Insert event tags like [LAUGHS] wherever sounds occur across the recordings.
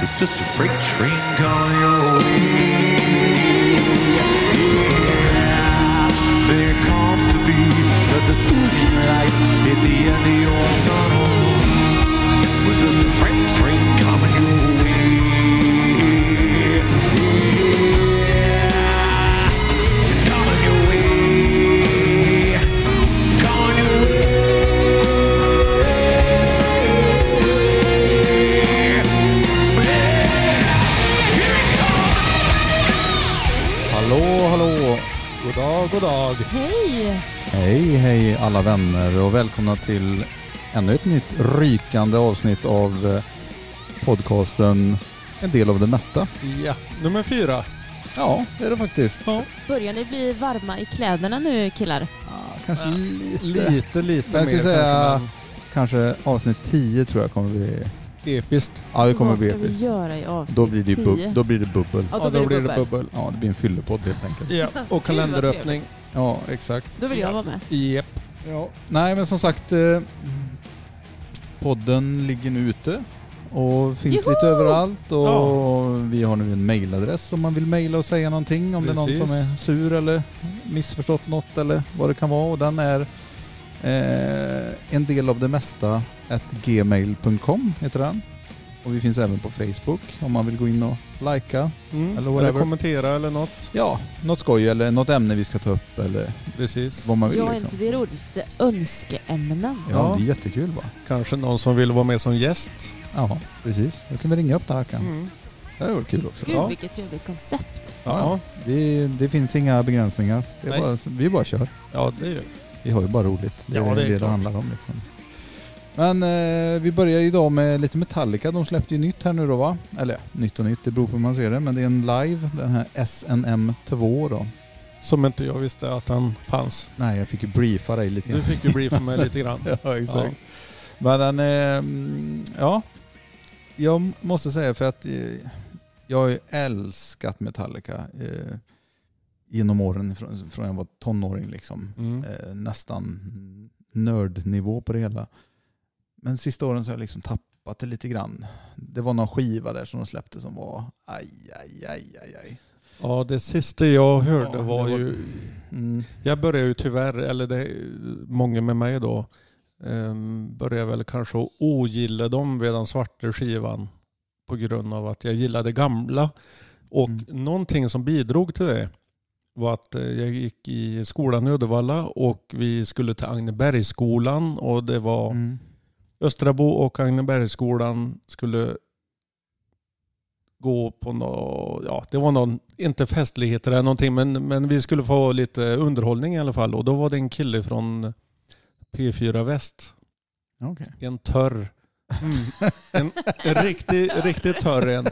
It's just a freight train going your way. There comes to be that the soothing light at the end of your tunnel. It's just a freight train coming your way. It's coming your way. Coming your way. Hallå, hallå! God dag, god dag! Hej! Hej, hej alla vänner och välkomna till ännu ett nytt rykande avsnitt av eh, podcasten En del av det mesta. Ja, nummer fyra. Ja, det är det faktiskt. Ja, Börjar ni bli varma i kläderna nu killar? Ah, kanske Ja. lite. lite, lite Men jag mer skulle säga- kanske, Kanske avsnitt 10 tror jag kommer bli... men episkt. Ja, det kommer Vad bli ska vi episkt. göra i avsnitt Då blir det, ju 10? bub- då blir det bubbel. Ja, då blir det bubbel. bubbel. Ja, det blir en fyllepodd helt enkelt. Ja, och kalenderöppning. Ja, exakt. Då vill jag vara med. Japp. Ja, nej men som sagt eh, podden ligger nu ute och finns Joho! lite överallt och Ja. vi har nu en mailadress om man vill mejla och säga någonting om det är någon Precis. som är sur eller missförstått något eller vad det kan vara och den är eh, en del av det mesta at gmail.com heter den och vi finns även på Facebook om man vill gå in och likea Mm. Eller Eller, whatever. kommentera eller något. ja, något skoj eller något ämne vi ska ta upp eller Precis. vad man vill Ja, liksom. inte det är roligt. Det är önskeämnen. Ja, Ja. det är jättekul va? Kanske någon som vill vara med som gäst. Ja, precis. Då kan vi ringa upp den här kan. Mm. Det hade varit kul också. Mm. Gud Ja. vilket trevligt koncept. Ja. Det, det finns inga begränsningar. Det är Nej. bara, vi bara kör. ja, det är ju. Vi har ju bara roligt. Det är Ja, det det är det, klart. handlar om liksom. Men eh, vi börjar idag med lite Metallica. De släppte ju nytt här nu då va? Eller ja, nytt och nytt, det beror på hur man ser det. Men det är en live, den här SNM 2 då. Som inte jag visste att han fanns. Nej, jag fick ju briefa dig lite Du grann. fick ju briefa [LAUGHS] mig lite grann. [LAUGHS] ja, exakt. Men den, eh, mm, ja. Jag måste säga för att eh, jag har ju älskat Metallica eh, genom åren från, från jag var tonåring liksom. Mm. eh, nästan nördnivå på det hela. Men sista åren så har jag liksom tappat det lite grann. Det var någon skiva där som de släppte som var aj, aj, aj, aj, aj. Ja, det sista jag hörde Ja, var det var- ju... Mm. Jag började ju tyvärr, eller det, många med mig då, um, började väl kanske att ogilla dem vid den svarta skivan på grund av att jag gillade gamla. Och Mm. någonting som bidrog till det var att eh, jag gick i skolan i Uddevalla och vi skulle till Agnebergsskolan och det var Mm. Östrabo och Agnebergsskolan skulle gå på något, ja det var någon, inte festligheter eller någonting men, men vi skulle få lite underhållning i alla fall och då var det en kille från P4 Väst, Okej. en törr, en, en riktig, [LAUGHS] riktigt törr en.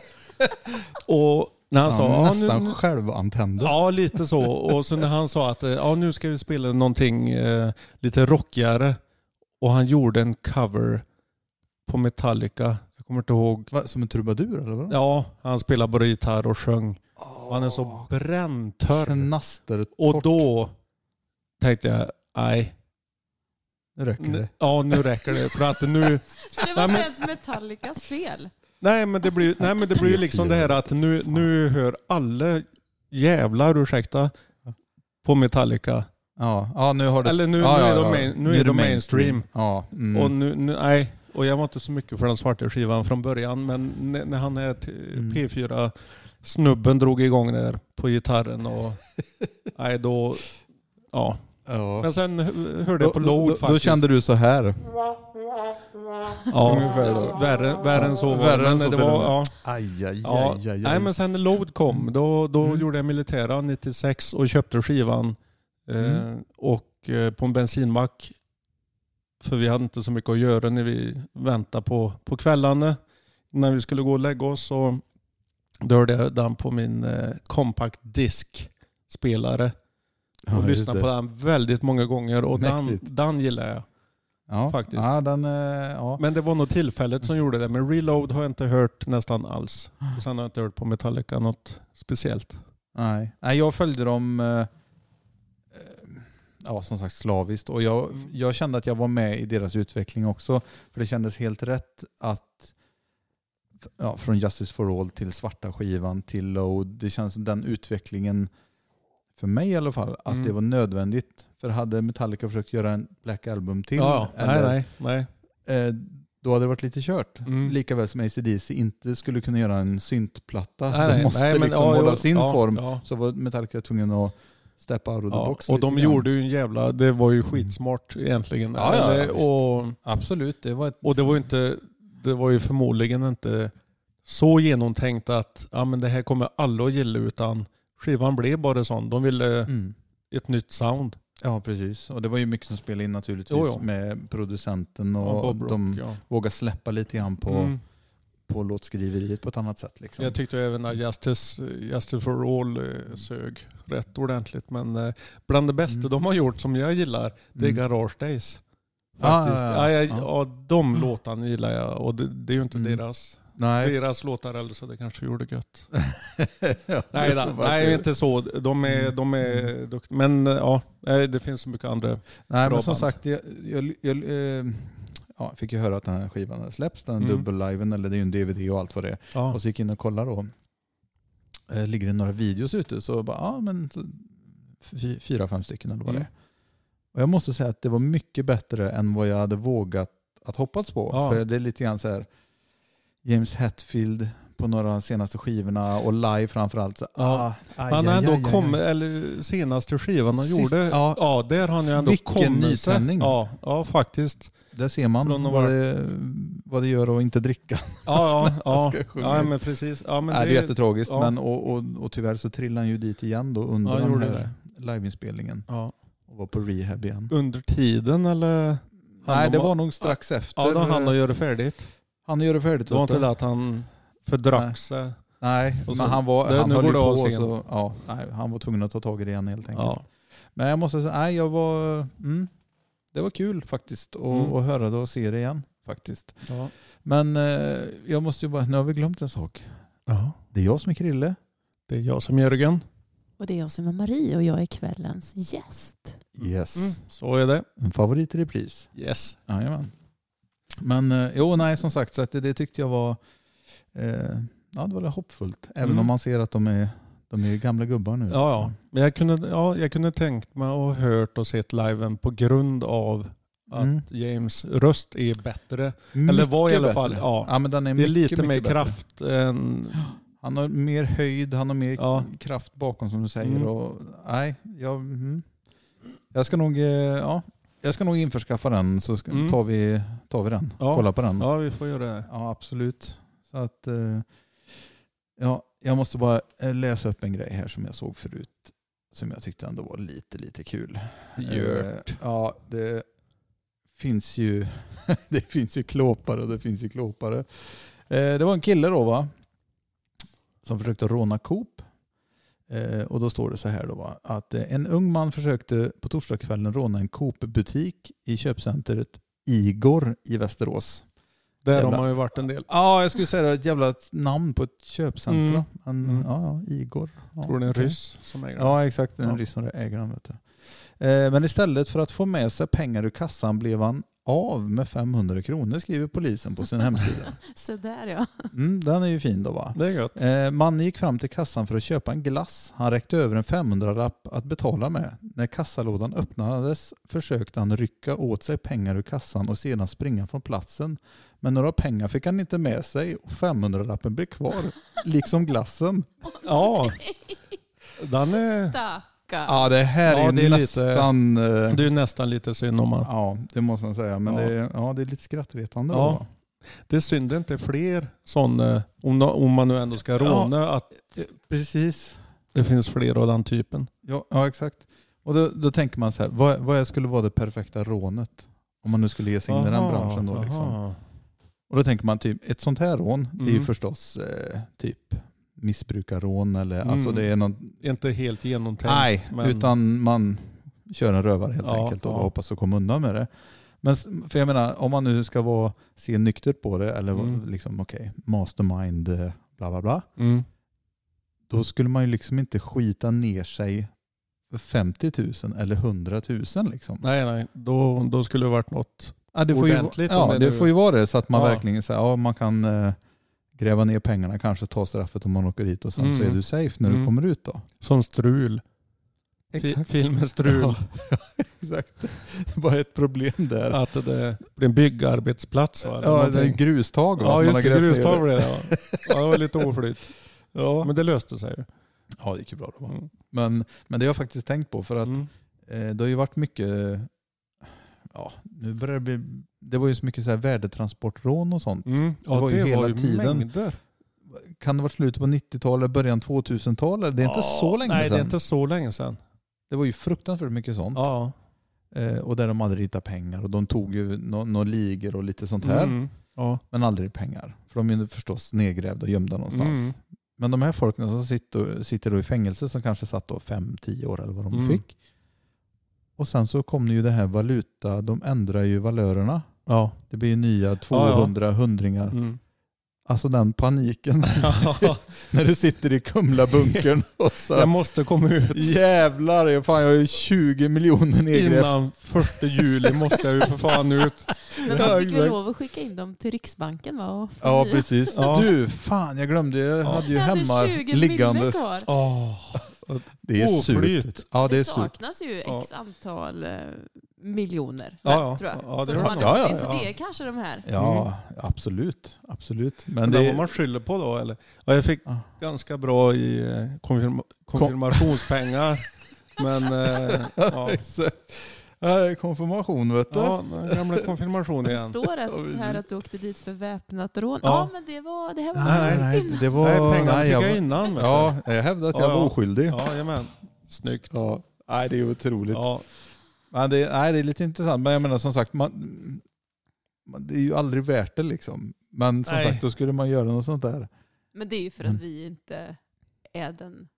Och när han Han sa, "Ja, nu- nästan nu- självantänder. Ja, lite så. Och så när han sa att eh, ja, nu ska vi spela någonting eh, lite rockigare. Och han gjorde en cover på Metallica. Jag kommer inte ihåg. Va, som en trubadur eller vad? Ja, han spelade både gitarr och sjöng. Åh, Och han är så bränntorr. Knaster Och då tänkte jag, nej. Nu räcker n- det. Ja, nu räcker det. För att nu... Så det Nej, var inte men- ens Metallicas fel. Nej, men det blir ju nej, men det blir ju liksom det här att nu, nu hör alla jävlar, ursäkta, på Metallica. Ja, ja nu har det... Eller nu- ja, nu ja, är de ja. main- nu är de mainstream. Ja. Mm. Och nu, nu, nej, och jag var inte så mycket för den svarta skivan från början, men när, när han är t- Mm. P4-snubben drog igång där på [LAUGHS] gitarren och nej då, ja. ja. Men sen hö- hörde jag på Då- då- load då, faktiskt. då kände du så här. ja, ungefär då. Värre, värre än så var Värre det, men än så det till och var, med. ja. Aj, aj, ja. Nej men sen när load kom, då, då Mm. gjorde jag militära 96 och köpte skivan eh, Mm. och eh, på en bensinmack. För vi hade inte så mycket att göra när vi väntade på, på kvällarna. När vi skulle gå och lägga oss och då hörde jag den på min eh, compact disk spelare. Ja, just och lyssnade det. på den väldigt många gånger och den, Mäktigt. den gillar jag. Ja, faktiskt. Ja, den, eh, ja. Men det var nog tillfället som gjorde det. Men reload har jag inte hört nästan alls. Och sen har jag inte hört på Metallica något speciellt. Nej. Nej, jag följde dem eh, eh, ja, som sagt slaviskt. Och jag, Mm. jag kände att jag var med i deras utveckling också. För det kändes helt rätt att ja, från Justice for All till svarta skivan till Load. Det känns som den utvecklingen, för mig i alla fall, att Mm. det var nödvändigt. För hade Metallica försökt göra en Black Album till, Ja, ja. Nej, eller, nej, nej. Eh, då hade det varit lite kört. Mm. Likaväl som AC/DC inte skulle kunna göra en syntplatta. nej, de nej, måste nej, men liksom ja, hålla jo, sin ja, form. Ja. Så var Metallica tvungen att steppa out of the Ja, box. och lite de grann. gjorde ju en jävla, det var ju skitsmart egentligen. Ja, ja, ja, Eller- visst. och, Absolut, det var ett... och det var ju inte, det var ju förmodligen inte så genomtänkt att ja, men det här kommer alla att gilla utan skivan blev bara sån. De ville Mm. ett nytt sound. Ja, precis. Och det var ju mycket som spelade in naturligtvis Jo, jo. med producenten av och Bob Rock, de ja. vågade släppa lite grann på, Mm. på låtskriveriet på ett annat sätt. Liksom. Jag tyckte även att Justice, Justice for All eh, sög rätt ordentligt. Men eh, bland det bästa Mm. de har gjort som jag gillar, det är Mm. Garage Days. Ah, Faktiskt. ja, ja, ja. ja, jag, Ja. ja. de låtarna gillar jag och det, det är ju inte Mm. deras, Nej. deras låtar eller så det kanske gjorde gött. [LAUGHS] Ja, Nej, då, vad nej säger du? Mm. inte så. De är, de är duktiga. Men eh, ja, nej, det finns så mycket andra. Nej, Bra men som band. sagt, jag, jag, jag eh, ja, fick ju höra att den här skivan hade släppts, den Mm. dubbelliven, eller det är ju en DVD och allt vad det är. Ja. Och så gick jag in och kollade då. Eh, ligger det några videos ute? Så bara, ja men så, fy- fyra, fem stycken eller vad det Mm. är. Och jag måste säga att det var mycket bättre än vad jag hade vågat att hoppats på. Ja. För det är lite grann så här James Hetfield på några av de senaste skivorna och live framförallt. Så, Ja. ah, aj, Han har aj, ändå aj, aj, kommit, eller senaste skivan han Sist- gjorde, ja. ja. där har han ju ändå Vilken kommit. sig. nytändning. Ja, ja, faktiskt. Där ser man Från att vad vara- det, vad det gör att inte dricka. Ja, [LAUGHS] Han ja, ska ja. sjunga. ja men precis. Ja, men Nej, det är jättetragiskt ja. men, och, och, och tyvärr så trillar han ju dit igen då under Ja, den gjorde här liveinspelningen ja. och var på rehab igen. Under tiden eller? Han Nej, och det Ma- var nog strax efter. Ja, då hann han göra färdigt. han gör det färdigt. Det var vet inte du. det att han Nej. fördrack sig. Nej, Och så- men han, var, det- han nu höll går ju det av på. scenen. Så, ja, nej, han var tvungen att ta tag i det igen helt enkelt. Ja. Men jag måste säga, nej, jag var, mm, det var kul faktiskt att Mm. att höra det och se det igen. faktiskt. Ja. Men eh, jag måste ju bara, nu har vi glömt en sak. Det är jag som är Krille. Det är jag som Jörgen. Och det är jag som är Marie och jag är kvällens gäst. Yes. Mm. Så är det. En favorit i repris. Yes. Jajamän. Men eh, jo, nej som sagt, så att det, det tyckte jag var, eh, ja, det var lite hoppfullt. Även Mm. om man ser att de är, de är gamla gubbar nu. Ja, ja. Men jag kunde, ja, jag kunde tänkt mig och hört och sett liven på grund av att Mm. James röst är bättre. liksom. Mycket Eller var i alla fall, bättre. ja. ja men den är Det är mycket, lite mycket mer bättre. Mm. kraft än... Han har mer höjd, han har mer Ja. kraft bakom som du säger. Mm. Och, nej, jag, mm. jag, ska nog, eh, ja, jag ska nog införskaffa den så ska, Mm. tar, vi, tar vi den. Ja. Kolla på den. Ja, vi får göra det. Ja, absolut. Så att, eh, ja, jag måste bara eh, läsa upp en grej här som jag såg förut som jag tyckte ändå var lite, lite kul. Eh, ja, det finns ju [LAUGHS] det finns ju klåpare och det finns ju klåpare. Eh, det var en kille då va? Som försökte råna Coop. Eh, och då står det så här då va? Att eh, en ung man försökte på torsdagskvällen råna en Coop-butik i köpcentret Igor i Västerås. Där har jävla- man ju varit en del. Ja, jag skulle säga det. Ett jävla namn på ett köpcentrum. Men, Mm. Ja, ja, Igor. Ja, Tror det är en okej. ryss som äger den. Ja, exakt. En Ja. ryss som äger den. Vet du. Eh, Men istället för att få med sig pengar ur kassan blev han av med 500 kronor skriver polisen på sin [LAUGHS] hemsida. Så där ja. Mm, den är ju fin då va? Det är gött. Eh, Mannen gick fram till kassan för att köpa en glass. Han räckte över en 500-lapp att betala med. När kassalådan öppnades försökte han rycka åt sig pengar ur kassan och sedan springa från platsen. Men några pengar fick han inte med sig och 500-lappen blev kvar, liksom glassen. Ja. Den är, Stackarn. Ja, det här Ja, är, det är lite- nästan... eh, det är ju nästan lite synd om man. Ja, det måste man säga. Men Ja. Det, är, ja, det är lite skrattretande. Ja. då. Det är synd det inte är fler sådana, om, nå- om man nu ändå ska råna, att Precis. det finns fler av den typen. Ja, ja exakt. Och då, då tänker man så här, vad, vad skulle vara det perfekta rånet? Om man nu skulle ge sig in i den Aha, branschen då. Liksom. aha. Och då tänker man typ, ett sånt här rån, det är ju Mm. förstås eh, typ missbrukarrån eller Mm. alltså det är någon... Inte helt genomtänkt. Nej, men- utan man kör en rövare helt Ja, enkelt och ja. hoppas att komma undan med det. Men s- för jag menar, om man nu ska vara, se nykter på det eller vara Mm. liksom okej, mastermind, eh, bla bla bla. Mm. Då skulle man ju liksom inte skita ner sig 50 000 eller 100 000 liksom. Nej, nej. Då, då skulle det varit något. Ja, det, får ju, ordentligt om ja, det det, nu- får ju vara det så att man Ja. verkligen så här, ja, man kan eh, gräva ner pengarna, kanske ta straffet om man åker dit och sen så är Mm. du safe när du Mm. kommer ut då. Som strul. Fi- Filmen strul. Ja, exakt. [LAUGHS] Det är Bara ett problem där. Att det- det blir en byggarbetsplats va? Eller Ja, det är någonting. grustag va, som ja man just har det. grävt ner [LAUGHS] Grustag blev det. Ja. ja, det var lite oflyt. Ja. Men det löste sig ju. ja, det gick ju bra då. Mm. Men, men det har jag faktiskt tänkt på för att Mm. eh, det har ju varit mycket, ja, nu börjar det bli, det var ju så mycket så här värdetransportrån och sånt. Mm. Ja, Det det var var ju hela ju tiden. mängder. Kan det vara slutet på 90-talet, början 2000-talet? Det är inte Ja, så länge Nej, sedan. Mm. det är inte så länge sedan. Det var ju fruktansvärt mycket sånt. Ja. Eh, och där de aldrig hittade pengar. Och de tog ju några no, ligor och lite sånt här. Mm. Ja. Men aldrig pengar. För de är ju förstås nedgrävda och gömda någonstans. Mm. Men de här folken som sitter, sitter då i fängelse som kanske satt då 5-10 år eller vad de Mm. fick. Och sen så kom det ju det här valuta, de ändrar ju valörerna. Ja. Det blir ju nya ja. 200 hundringar. Mm. Alltså den paniken [LAUGHS] Ja. när du sitter i [LAUGHS] Kumlabunkern och så [LAUGHS] Jag måste komma ut. jävlar, jag- fan jag har ju 20 miljoner nedgrävt. Innan första juli måste jag ju för fan ut. [LAUGHS] Men Ja, man fick väl exakt. lov att skicka in dem till Riksbanken va? Och få Ja nya. precis. Ja. Du, fan jag glömde, jag hade ju Jag hade hemmar 20 miljoner liggandes. kvar. Oh. Det är Oflyt. surt. Ja det, det är surt. saknas ju Ja. x antal eh, miljoner. Ja, här, ja. tror jag. Ja, det så, har de har man. lagt Ja, ja, in, så ja. det är kanske de här. Ja, absolut. Absolut. Men Mm. Men det [LAUGHS] vad man skyller på då eller? Ja, jag fick Ja. ganska bra i eh, konfirma [LAUGHS] konfirmationspengar. men eh, ja. Exakt. Äh, Konfirmation vet du. ja, den gamla konfirmation Det igen. står Ja, att, precis. här att du åkte dit för väpnat rån. Ja. Ja, men det, var, det här var Nej, nej, det var... Nej, pengarna fick jag jag, var- innan. vet Ja, jag hävdade att jag Ja, var ja. oskyldig. du. Ja. Ja, jajamän. Snyggt. Nej, det är otroligt. Ja. Men det, nej, det är lite intressant. Men jag menar som sagt, man, man, det är ju aldrig värt det liksom. Men som Nej. sagt, då skulle man göra något sånt där. Men det är ju för Mm. att vi inte är den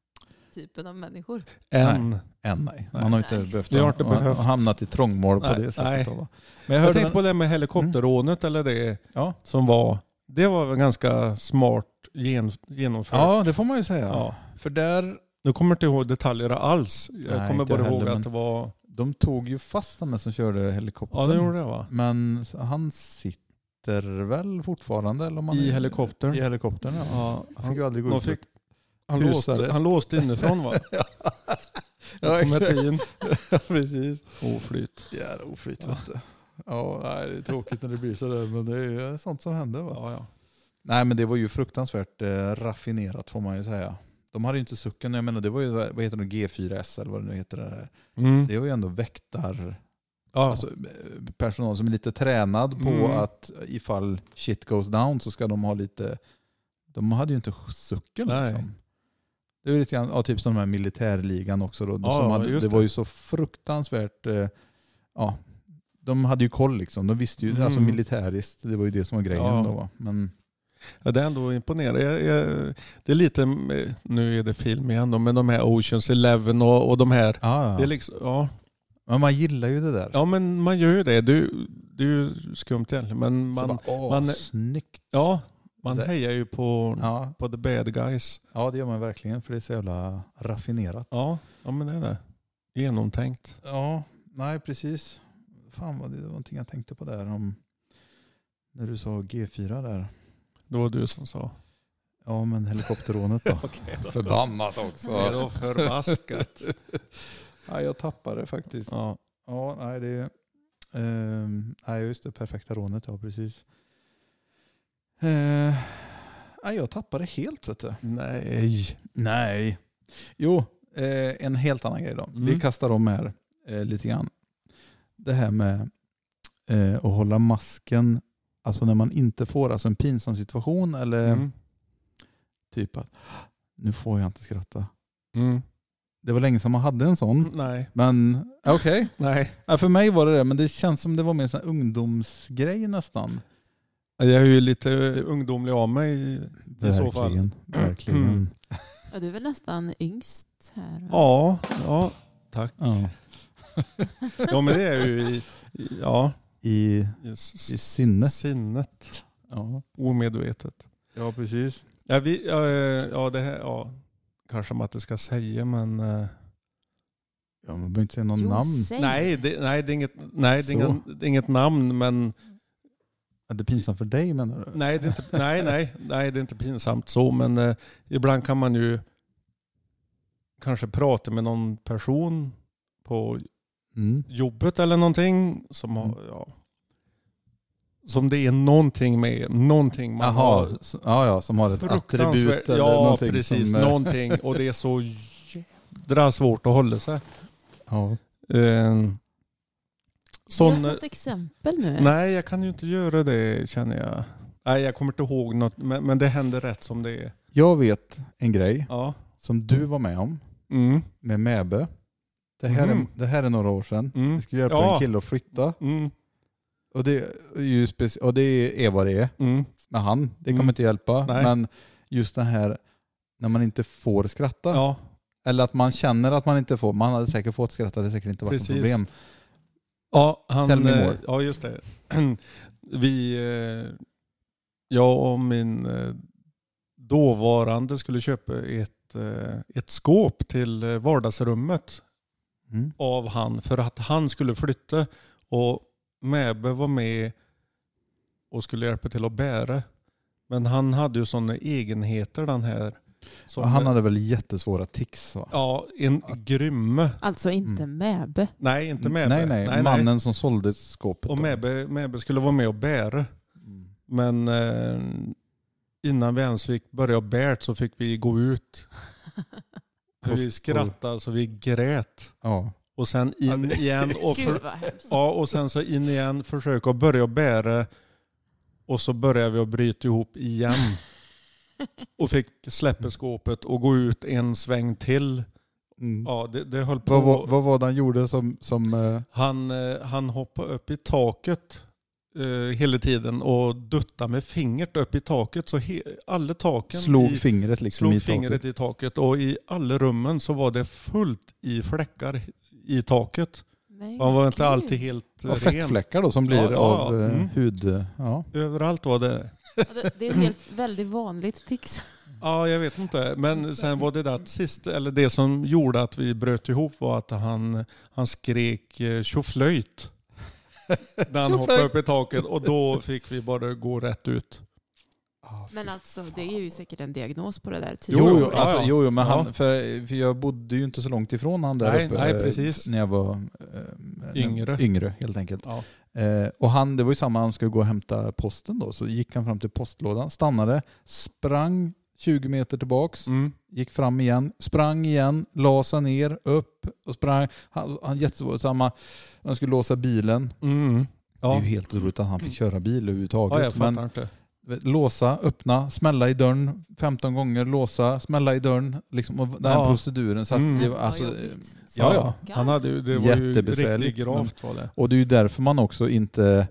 typen av människor. En. Än nej. Nej. Man har inte Nej. behövt Vi har inte ha- behövt. ha hamnat i trångmål på Nej, det sättet. nej. då, va? Men jag Jag hörde Mm. tänkte på det med helikopterrånet eller det Ja. som var. Det var väl ganska smart gen, genomfört. Ja, det får man ju säga. Ja. För där, Nu kommer jag inte ihåg detaljerna alls. Jag Nej, kommer inte bara jag ihåg heller, men- att det var... de tog ju fast den som körde helikoptern. Ja, det gjorde det va? Men han sitter väl fortfarande? Eller om han I är- helikoptern. I helikoptern, ja. Ja, Han fick ju aldrig gå de ut. fick- han, Husarrest. [LAUGHS] låste, han låste inifrån va? ja, Kom exakt. inte in. Ja, precis. Oflyt. Jävla oflyt vet du. Ja, nej, det är tråkigt när det blir sådär, men det är ju sånt som händer. Va? Ja, ja. Nej, men det var ju fruktansvärt eh, raffinerat får man ju säga. De hade ju inte sucken, jag menar det var ju, vad heter det, G4S eller vad det nu heter det där. Mm. Det var ju ändå väktar... ja. alltså, eh, personal som är lite tränad på Mm. att ifall shit goes down så ska de ha lite... De hade ju inte sucken Nej. liksom. Det är ju lite grann, ja, typ som den här militärligan också. Då, Ja, som ja, hade, just det det. var ju så fruktansvärt... eh, Ja, de hade ju koll liksom. De visste ju, Mm. alltså militäriskt, det var ju det som var grejen Ja. då. Va? Men, Ja, det är ändå imponerande. Jag, jag, det är lite, nu är det film igen då, men de här Oceans Eleven och, och de här. ja, Det är ja. liksom, ja. men man gillar ju det där. ja, men man gör ju det. Du, det är ju skumt egentligen. Men man, så man, bara, åh, man- snyggt. ja, man Så- hejar ju på, Ja, på the bad guys. ja, det gör man verkligen för det är så jävla raffinerat. Ja, ja men det är det. Genomtänkt. Ja, nej precis. Fan vad det var någonting jag tänkte på där om när du sa G4 där. Det var du som sa. Ja men helikopterrånet då. Okej [LAUGHS] då. Förbannat också. Det var förbaskat. ja, jag tappade faktiskt. Ja, [LAUGHS] Ja. nej det är... ehm, nej just det, perfekta rånet ja precis. Eh, nej, jag tappade helt vet du. Nej. Nej. Jo, eh, en helt annan grej då. Mm. Vi kastar om här eh, lite grann. Det här med eh, att hålla masken, alltså när man inte får alltså en pinsam situation eller Mm. typ att nu får jag inte skratta. Mm. Det var länge sedan man hade en sån, Nej. men okej. Nej. Ja, för mig var det det, men det känns som det var mer en sån här ungdomsgrej nästan. Jag är ju lite ungdomlig av mig. I så fall. Verkligen, verkligen. Mm. Ja, du är väl nästan yngst här? va? Ja, ja. Ja. ja men det är [LAUGHS] ju i, i, ja, I, i, I s- sinnet. sinnet. Ja. Omedvetet. ja, precis. Ja, vi, ja, eh, ja, det här, ja, kanske man inte ska säga men eh, Ja, man behöver inte säga någon jo, namn. säg. Nej, det, nej, det är inget, nej, det är Så. ingen, det är inget namn, men Är det pinsamt för dig menar du? nej det, är inte, nej, nej, nej, det är inte pinsamt så. Men eh, ibland kan man ju kanske prata med någon person på Mm. jobbet eller någonting som, har, Mm. ja, som det är någonting med. Någonting man Jaha, har. så- ja, ja, som har ett Fruktansvärt- attribut eller Ja, någonting. precis. Som, eh, Någonting. Och det är så jädra svårt att hålla sig. [LAUGHS] ja. Eh, Sån... sån, något exempel nu. nej, jag kan ju inte göra det känner jag. Nej, jag kommer inte ihåg något, men, men det händer rätt som det är. Jag vet en grej Ja. som du var med om Mm. med Mäbe. Det här, Mhm. är, det här är några år sedan. Mm. Vi skulle hjälpa Ja. en kille att flytta. Mm. Och det, är ju speci- och det är vad det är Mm. med han. Det kommer Mm. inte hjälpa. Nej. Men just det här när man inte får skratta. Ja. Eller att man känner att man inte får. Man hade säkert fått skratta, det hade säkert inte varit något Precis. problem. Ja, Tell han, me eh, more. ja just det. [CLEARS THROAT] Vi, eh, jag och min eh, dåvarande skulle köpa ett, eh, ett skåp till eh, vardagsrummet Mm. av han för att han skulle flytta och Mäbe var med och skulle hjälpa till att bära. Men han hade ju sådana egenheter den här. som- Och han hade väl jättesvåra tics va? Ja, en grymme. Alltså inte Mm. Mäbe. Nej, inte Nej, Mäbe. nej, mannen som sålde skåpet. Och då. Mäbe, Mäbe skulle vara med och bära. Mm. Men eh, innan vi ens fick börja bärt så fick vi gå ut. För vi skrattade så vi grät. Ja. Och sen in [LAUGHS] igen. [LAUGHS] Och, för, Gud vad hemskt. ja, och sen så in igen, försöka att börja bära. Och så började vi att bryta ihop igen. Och fick släppa skåpet och gå ut en sväng till. Mm. Ja, det, det höll på. Vad, var- vad var det han gjorde som... som eh, Han, eh, han hoppade upp i taket eh, hela tiden och duttade med fingret upp i taket. Så he- alla taken slog i, fingret liksom slog i fingret taket. i taket och i alla rummen så var det fullt i fläckar i taket. Men Han var gud. inte alltid helt Och ren. fettfläckar då som blir Ja, ja, av ja. eh, Mm. hud... [LAUGHS] Ja. Överallt var det. Ja, Alltså, det- Det är ett helt väldigt vanligt tics. Ja, jag vet inte. Men sen var det där att sist, eller det som gjorde att vi bröt ihop var att han, han skrek eh, tjoflöjt. När han hoppade upp i taket och då fick vi bara gå rätt ut. Men alltså det är ju säkert en diagnos på det där. Jo, Typ. jo, jo, alltså, ja. jo, jo men Ja. han, för, för jag bodde ju inte så långt ifrån han där Nej, uppe. nej, eh, precis. När jag var eh, Yngre. yngre helt enkelt. Ja. Eh, och han, det var ju samma, han skulle gå och hämta posten då. Så gick han fram till postlådan, stannade, sprang 20 meter tillbaks, Mm. gick fram igen, sprang igen, la sig ner, upp och sprang. Han, han jättesvår, samma, han skulle låsa bilen. Mm. Det är Ja. ju helt otroligt att han fick köra bil ja, överhuvudtaget. jag fattar men inte. vet, låsa, öppna, smälla i dörren 15 gånger, låsa, smälla i dörren. Liksom, och den här Ja. proceduren. Så att Mm. det, var- Vad alltså, jobbigt. ja, ja. Stackarn. Han hade, ju- det var ju Jättebesvärligt, riktigt gravt var det. och det är ju därför man också inte...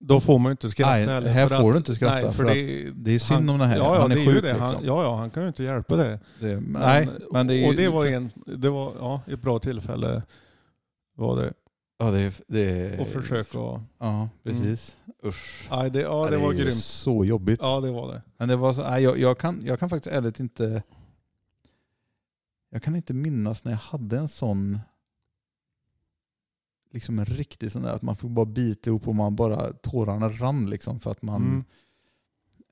Då får man ju inte skratta Nej, heller. här för får att- du inte skratta, Nej, för för det, Det är synd han- om det här. Ja, ja, han är det är sjuk ju det. liksom. Han, ja, ja, han kan ju inte hjälpa det. Det, nej, men det är ju, liksom- och det var, en, det var ja, ett bra tillfälle var det. Ja, det, är- det, är- Och försöka och, Ja, precis. Usch. nej, det, ja, det var är ju grymt. så jobbigt. Ja, det var det. Men det var så, nej, jag, jag, kan, jag kan faktiskt ärligt inte... Jag kan inte minnas när jag hade en sån... Liksom en riktig sån där att man fick bara bita ihop och man bara tårarna rann liksom för att man... Mm.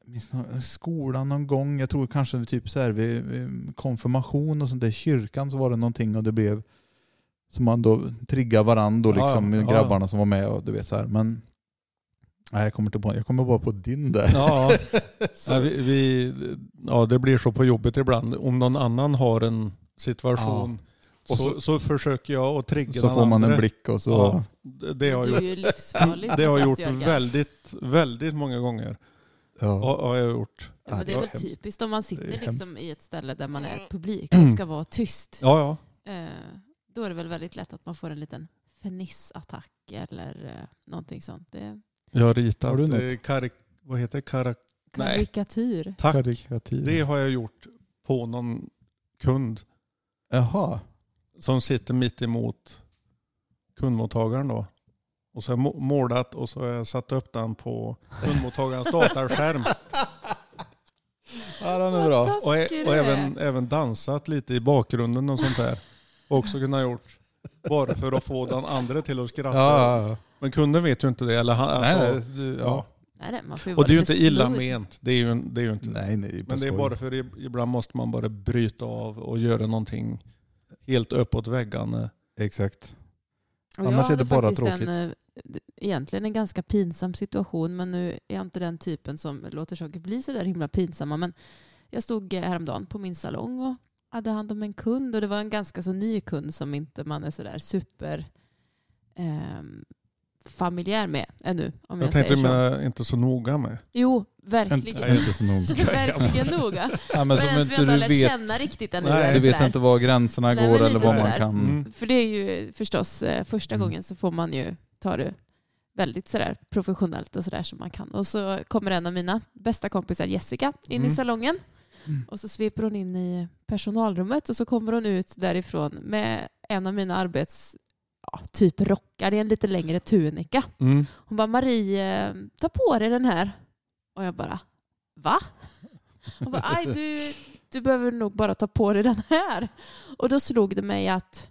Jag minns nå- skolan någon gång, jag tror kanske typ så här vid vid konfirmation och sånt där, i kyrkan så var det någonting och det blev som man då triggade varandra och Ja, liksom ja. grabbarna som var med och du vet så här. Men nej, jag kommer inte på, jag kommer bara på din där. [LAUGHS] Ja, ja, vi, vi, ja, det blir så på jobbet ibland. Om någon annan har en situation Och så, så, försöker jag att trigga Så den får man andra. en blick och så... Ja, det, det har Du jag är ju livsfarlig. [LAUGHS] Det har Satt jag gjort Jörgen. väldigt, väldigt många gånger. Ja. Ja, ja, jag har gjort. Ja, men det är Ja, väl hemskt. typiskt om man sitter Det är liksom i ett ställe där man är publik och ska vara tyst. Ja, ja. Eh, Då är det väl väldigt lätt att man får en liten fnissattack eller eh, någonting sånt. Det är Jag har ritat. Har du något? eh, karik, vad heter det? Karak, Nej. karikatyr. tack. Karikatyr. Det har jag gjort på någon kund Jaha. som sitter mitt emot kundmottagaren då. Och så har jag må- målat och så har jag satt upp den på kundmottagarens dataskärm. Ja, den är bra. Vad Och, ä- taskig och du är. även, även dansat lite i bakgrunden och sånt där. Också kunnat gjort. Bara för att få den andra till att skratta. Ja, ja, Men kunden vet ju inte det. Eller han, ja. alltså, Nej, nej, du, ja. Nej, nej, man får ju Och vara det är ju lite inte illa slurvig. ment. Det är ju, det är ju inte. nej, nej. på Men det är skoj. bara för i- ibland måste man bara bryta av och göra någonting helt uppåt väggarna. Exakt. Och Annars jag är det hade bara faktiskt tråkigt. En, eh, d- egentligen en ganska pinsam situation, men nu är jag inte den typen som låter saker bli så där himla pinsamma. Men jag stod eh, häromdagen på min salong och hade hand om en kund och det var en ganska så ny kund som inte man är så där super ehm, familjär med ännu. Om jag, Jag tänkte säger så. men inte så noga med. Jo, Inte, verkligen. inte så [LAUGHS] noga. [LAUGHS] verkligen Ja, noga. Alltså, men Men som ens vi inte inte du har lärt vet. känna riktigt ännu. Nej. är Du det vet sådär. inte var gränserna Nej, går men eller lite vad så man där. kan. [LAUGHS] Mm. För det är ju förstås eh, första Mm. gången så får man ju ta det väldigt sådär professionellt och sådär som man kan. Och så kommer en av mina bästa kompisar Jessica in i Mm. salongen Mm. och så sveper hon in i personalrummet och så kommer hon ut därifrån med en av mina arbets ja, typ rockar i en lite längre tunika. Hon bara Marie, eh, ta på dig den här. Och jag bara va? Hon bara aj du, du behöver nog bara ta på dig den här. Och då slog det mig att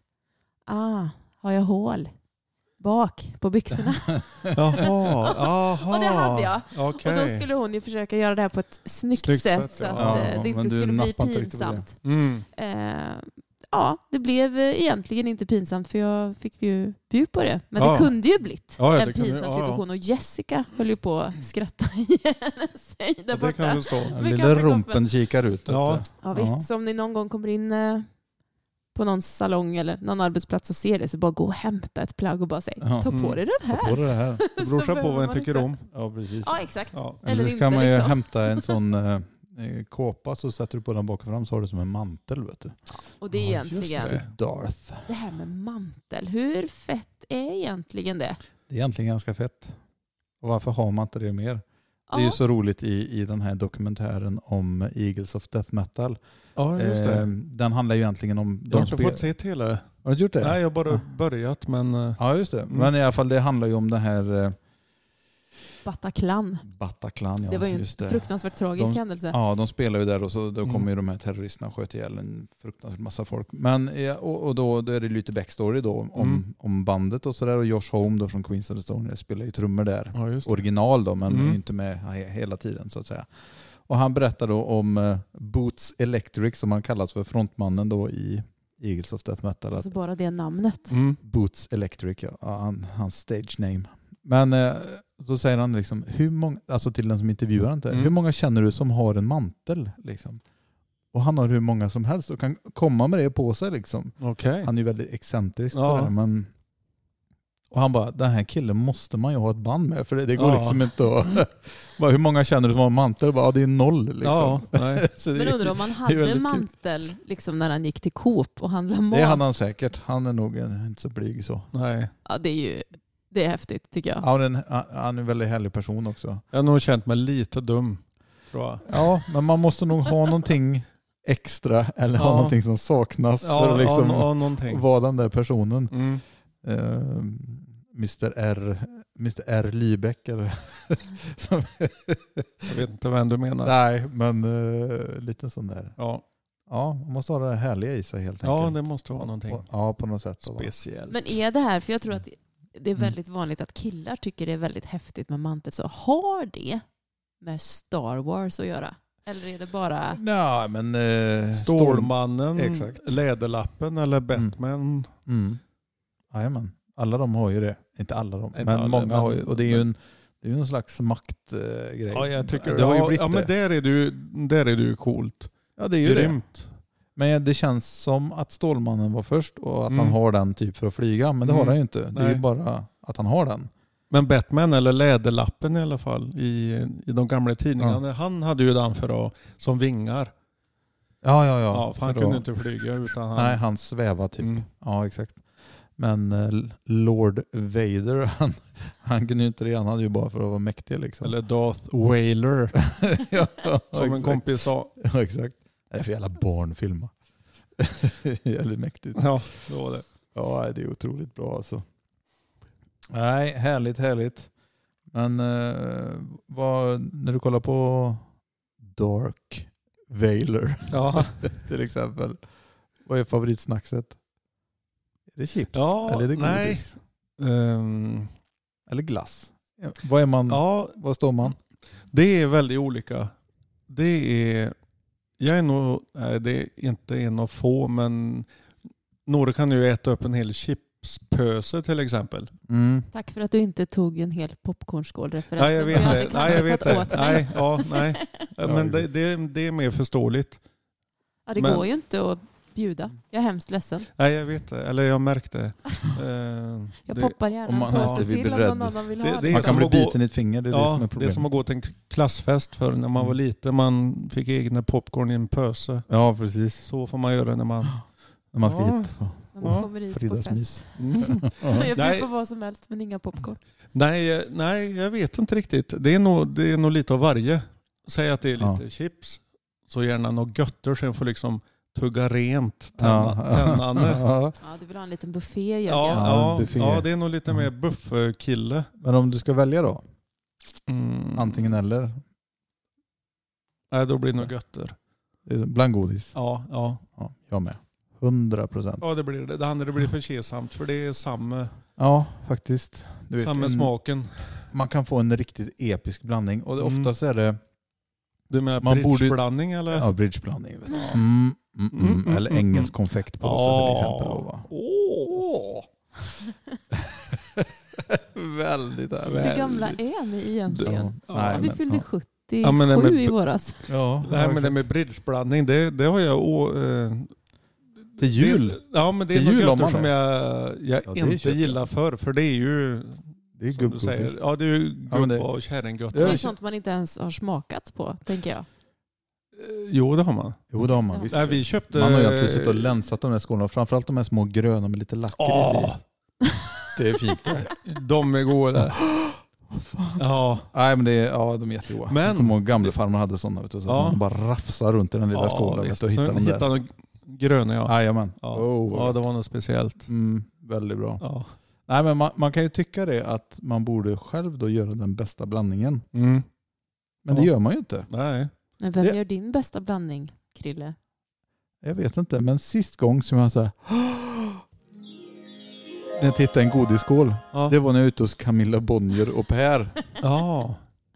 ah, har jag hål bak på byxorna? [LAUGHS] Jaha, jaha. Och det hade jag. Okej. Och då skulle hon ju försöka göra det här på ett snyggt, Snyggt sätt, sätt, så ja. att Ja, eh, det men inte du skulle bli nappade inte riktigt på det. pinsamt. Mm. Eh, ja, det blev eh, egentligen inte pinsamt för jag fick ju bjud på det. Men Ja. det kunde ju blivit Ja, ja, en det kunde- pinsam ja, ja. situation och Jessica höll ju på Mm. att skratta [LAUGHS] ihjäl sig där Och Det kan borta. jag förstå. Den Med lilla kaffekoppen. rumpen kikar ut. vet Ja. du. Ja, visst, Ja. så om ni någon gång kommer in eh, på någon salong eller någon arbetsplats och ser det så bara gå och hämta ett plagg och bara säg Ja. ta på Mm. dig den Ta på här. dig det här. [LAUGHS] Så Brorsan på behöver vad en man tycker inte- om. Ja, precis. Ja, exakt. Ja. Eller Eller så inte, kan man ju liksom. hämta [LAUGHS] en sån eh, eh, kåpa så sätter du på den bak och fram så har du som en mantel. Vet du. Och det är Ja, egentligen Just det. det. Darth. här med mantel. Hur fett är egentligen det? Det är egentligen ganska fett. Och varför har man inte det mer? Det är Ja. ju så roligt i, i den här dokumentären om Eagles of Death Metal. Ja, just det. Eh, den handlar ju egentligen om... jag har inte spe- fått sett hela. Har du gjort det? Nej, jag har bara Ja. börjat men... eh, Ja, just det. Mm. Men i alla fall det handlar ju om den här eh, Bataclan. Bataclan. Ja, det var ju en just det. fruktansvärt tragisk De- händelse. Ja, de spelar ju där och så då Mm. kommer ju de här terroristerna och sköt ihjäl en fruktansvärt massa folk. Men, eh, och, och då, då är det lite backstory då om, Mm. om bandet och sådär. Och Josh Holm då från Queens of the Stone Age spelar ju trummor där. Ja, just det. Original då, men Mm. är ju inte med he- hela tiden så att säga. Och han berättar då om eh, Boots Electric som han kallas för, frontmannen då i Eagles of Death Metal. Att Alltså bara det namnet. Mm. Boots Electric, ja, Ja, han, hans stage name. Men eh, så säger han liksom, hur många, alltså till den som intervjuar inte, Mm. hur många känner du som har en mantel? Liksom? Och han har hur många som helst och kan komma med det på sig. Liksom. Okej. Han är ju väldigt excentrisk. Ja. Sådär, men... Och han bara, den här killen måste man ju ha ett band med för det, det går Ja. liksom inte att... [LAUGHS] bara, hur många känner du som har en mantel? Bara, ja, det är noll. Liksom. Ja, nej. Så det, Men undrar om han väldigt hade kul. mantel liksom när han gick till Coop och handlade mat. det hade han säkert. Han är nog eh, inte så blyg så. nej. Ja, det är ju det är häftigt tycker jag. Ja, och den, han- han är en väldigt härlig person också. Jag har nog känt mig lite dum. Tror jag. Ja, men man måste nog ha någonting extra eller ha Ja. någonting som saknas för Ja, att liksom ja, ja, någonting. vara den där personen. Mm. Eh, Mr R, Mr R Lybeck eller [LAUGHS] som, Jag vet inte vem du menar. Nej, men eh, lite sån där. Ja, Ja, man måste ha det härliga i sig helt ja enkelt. det måste vara någonting På- Ja, på något sätt. speciellt. Men är det här, för jag tror att det är Mm. väldigt vanligt att killar tycker det är väldigt häftigt med mantel, så har det med Star Wars att göra? Eller är det bara... Nej, men... Eh, Stålmannen, Exakt. Läderlappen eller Batman. Mm. Jajamän. Alla de har ju det. Inte alla de, Inte men alla, många men- har ju. Och det är ju en, det är ju en slags maktgrej. Ja, jag tycker det har ju blivit ja, men det. där är du, där är du coolt. Ja, det är ju det. Grymt. Men det känns som att Stålmannen var först och att Mm. han har den typ för att flyga. Men det har Mm. han ju inte. Det är Nej. ju bara att han har den. Men Batman eller Läderlappen i alla fall i, i de gamla tidningarna. Han hade ju den för att, som vingar. Ja, ja, ja. Ja, för han För kunde då- inte flyga utan han... Nej, han svävar typ. Mm. Ja, exakt. Men eh, Lord Vader, [LAUGHS] han, han kunde ju inte det. Han hade ju bara för att vara mäktig liksom. Eller Darth Wailer [LAUGHS] ja, [LAUGHS] som en exakt. kompis sa. Ja, exakt. Det är för jävla barnfilma. [LAUGHS] Jävligt mäktigt. Ja, så var det. Ja, det är otroligt bra alltså. Nej, härligt, härligt. Men eh, vad, när du kollar på Dark Vailer [LAUGHS] Ja. till exempel, vad är favoritsnackset? Är det chips? Ja, Eller är det nej. godis? Mm. Ehm, Eller glass? Vad är man? ja, Vad står man? det är väldigt olika. Det är... Jag är nog... Nej, det är inte en av få, men några kan ju äta upp en hel chipspöse till exempel. Mm. Tack för att du inte tog en hel popcornskålreferens. Nej, jag vet hade det. knappt Nej, jag vet tagit åt det. mig. Nej, ja, [LAUGHS] nej. Ja, Men det, exakt. det, det är mer förståeligt. Ja, det Men- går ju inte att bjuda. Jag är hemskt ledsen. Nej, jag vet det. Eller jag märkte. [LAUGHS] Ehm, Jag det, poppar gärna om man en alltid påse blir till om beredd. någon annan vill Det- ha det är Man det. kan som bli att gå- biten i ett finger, det är det som är ja, det är Mm. problemet. som att gå till en klassfest för när man var liten. Man fick egna popcorn i en pöse. Ja, precis. Så får man göra när [GASPS] man... När man ska Ja. hit. När man Ja, kommer hit på fest. Fredagsmys. Mm. Jag bjuder Nej. på vad som helst men inga popcorn. Nej, eh, nej, jag vet inte riktigt. Det är nog, det är nog lite av varje. Säg att det är lite chips, så gärna något götter så jag får liksom tugga rent tänna- [LAUGHS] tännander. Ja. Ja, du vill ha en liten buffé Jörgen. Ja, Ja, ja, buffé. Mm. ja, det är nog lite mer buffkille. Men om du ska välja då? Mm. Antingen eller? Nej, då blir det nog götter. Det är eh, Bland godis? Ja, ja. Ja, jag med. 100 procent. ja det blir det. Det andra blir för kesamt för det är samma, Ja, faktiskt. Du vet, samma en- smaken. Man kan få en riktigt episk blandning och det- Mm. oftast är det Du menar Man borde- bridgeblandning eller? ja, bridgeblandning. vet du. Ja. Mm, mm, Mm, mm, mm, eller mm, engelsk mm. konfektpåse till exempel. Då, va? Åh! [LAUGHS] Väldigt. Hur gamla är ni egentligen? Ja, Ja, nej, vi men, fyllde ja. 77 Ja, men nej, men- i våras. Ja, Det här med, det med bridgeblandning, det, det har jag... å- eh, Till jul. Det, ja, men det är Till något jul har götter man som det. jag, jag Ja, det inte köper jag. gillar för för det är ju... Det är Som du säger, gubbgodis. ja, det är ju gubb Ja, men det- och kärringgötter. Det Ja, är det- sånt man inte ens har smakat på, tänker jag. Eh, Jo, det har man. Jo, det har man Ja. visst. Nej, vi köpte... Man har ju alltid suttit och länsat de där skorna. Framförallt de här små gröna med lite lakrits i. Åh, Det är fint det. de [GASPS] är goda. ja, Nej men det är, ja, de är jättegoda. Men- Jag kommer ihåg gamlefarmor hade sådana. Vet du, så att Ja. man bara rafsar runt i den lilla ja, skålen vet visst. du, och hittar Sen de där. hittade de gröna, ja. Jajamän. Ja. Oh, vad Ja, gott. det var något speciellt. mm, väldigt bra. Ja. Nej, men man, man kan ju tycka det att man borde själv då göra den bästa blandningen. Mm. Men det Ja. gör man ju inte. [GASPS] Nej. [LAUGHS] Men vem Det- gör din bästa blandning, Krille? Jag vet inte, men sist gång som jag så här, när jag tittade i en godisskål, Ja. det var när jag var ute hos Camilla Bonnier och Per. [LAUGHS] ja.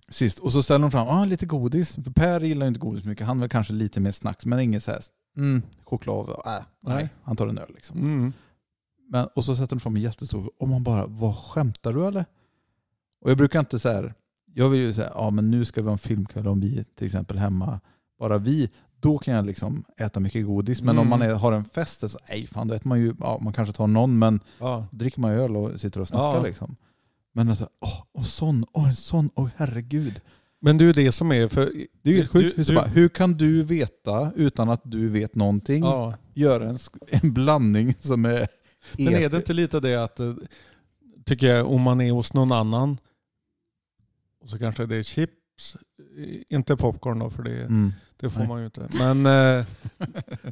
sist. Och så ställer hon fram ah, lite godis. För Per gillar ju inte godis mycket. Han vill kanske lite mer snacks, men inget så här, mm, choklad. Äh, nej, Nej. han tar en öl liksom. Mm. Men, och så sätter hon fram en jättestor och man bara, vad skämtar du eller? Och jag brukar inte så här, jag vill ju säga, ja men nu ska vi ha en filmkväll om vi till exempel hemma, bara vi, då kan jag liksom äta mycket godis. Men om Mm. man är, har en fest, så nej fan då äter man ju, ja man kanske tar någon, men Ja. dricker man öl och sitter och snackar Ja. liksom. Men alltså, åh, och sån, åh en sån, åh herregud. Men det är ju det som är för... Det är ju helt Du- sjukt. Hur, du- så bara, hur kan du veta utan att du vet någonting? Ja. Göra en, sk- en blandning som är... Men är det inte lite det att, eh, tycker jag, om man är hos någon annan och så kanske det är chips, eh, inte popcorn då för det, Mm. det får Nej. man ju inte. [LAUGHS] Men eh,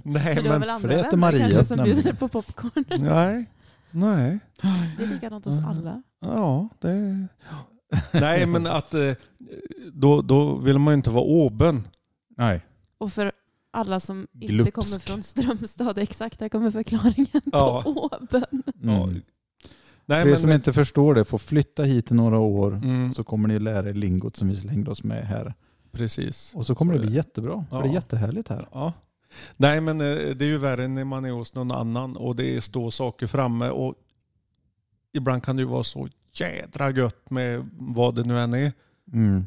nej, Men du har men väl andra för det heter vänner Maria, kanske som nämligen. bjuder på popcorn? nej, nej, Det är likadant hos alla. ja, det, nej men att eh, då, då vill man ju inte vara oben. [LAUGHS] Mm. Nej. Och för alla som inte Glupsk. kommer från Strömstad, exakt, där kommer förklaringen Ja. på åben. Mm. Nej, För er men, eh, som inte förstår det får flytta hit i några år mm, så kommer ni lära er lingot som vi slängde oss med här. precis. Och så kommer Så det är bli jättebra. För det är Ja. jättehärligt här. Ja. Nej men eh, det är ju värre när man är hos någon annan och det står saker framme och ibland kan det ju vara så jädra gött med vad det nu än är. Mm.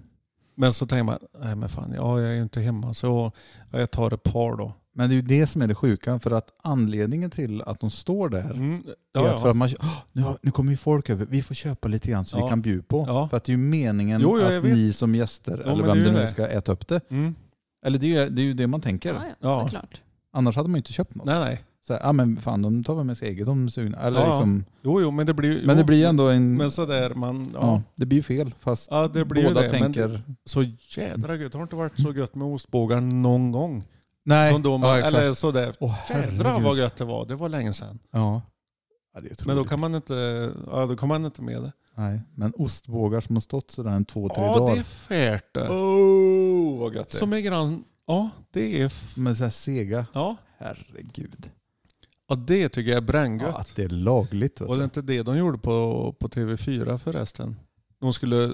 Men så tänker man, nej men fan, ja, jag är ju inte hemma så ja, jag tar ett par då. Men det är ju det som är det sjuka. För att anledningen till att de står där Mm. är Ja, att för ja. att man, "Åh, nu, har- nu kommer ju folk över. Vi får köpa lite grann så vi Ja. kan bjuda på. Ja. För att det är ju meningen Jo, jo, jag att vet. ni som gäster, Ja, eller men vem det är det ju nu det. ska äta upp det, Mm. Eller det är, ju- det är ju det man tänker. Ja, ja, Ja. såklart. Annars hade man ju inte köpt något. Nej nej. Så här, ah, men fan, de tar väl med sig eget om de är sugna. Eller Ja, liksom, Jo jo men det blir ju... men det jo, blir ju ändå en... Men sådär man, ja. ja. ja. det blir ju fel. Fast det blir båda ju det. tänker... Men så jädra gött. Det har inte varit så gött med ostbågar någon gång. Nej. Som då man, ja, exakt. eller sådär. Åh, Jädra herregud. vad gött det var. Det var länge sedan. Ja. ja, det är otroligt. Men då kan man inte, ja, då kan man inte med det. Nej, men ostbågar som har stått sådär en två, tre Ja, dagar. det är färt det. Oh, vad gött Som är grann, ja det är, f- Men såhär sega. ja. Herregud. Ja, det tycker jag är bränngött. att det är lagligt. Vet Var det du. inte det de gjorde på, på TV4 förresten? De skulle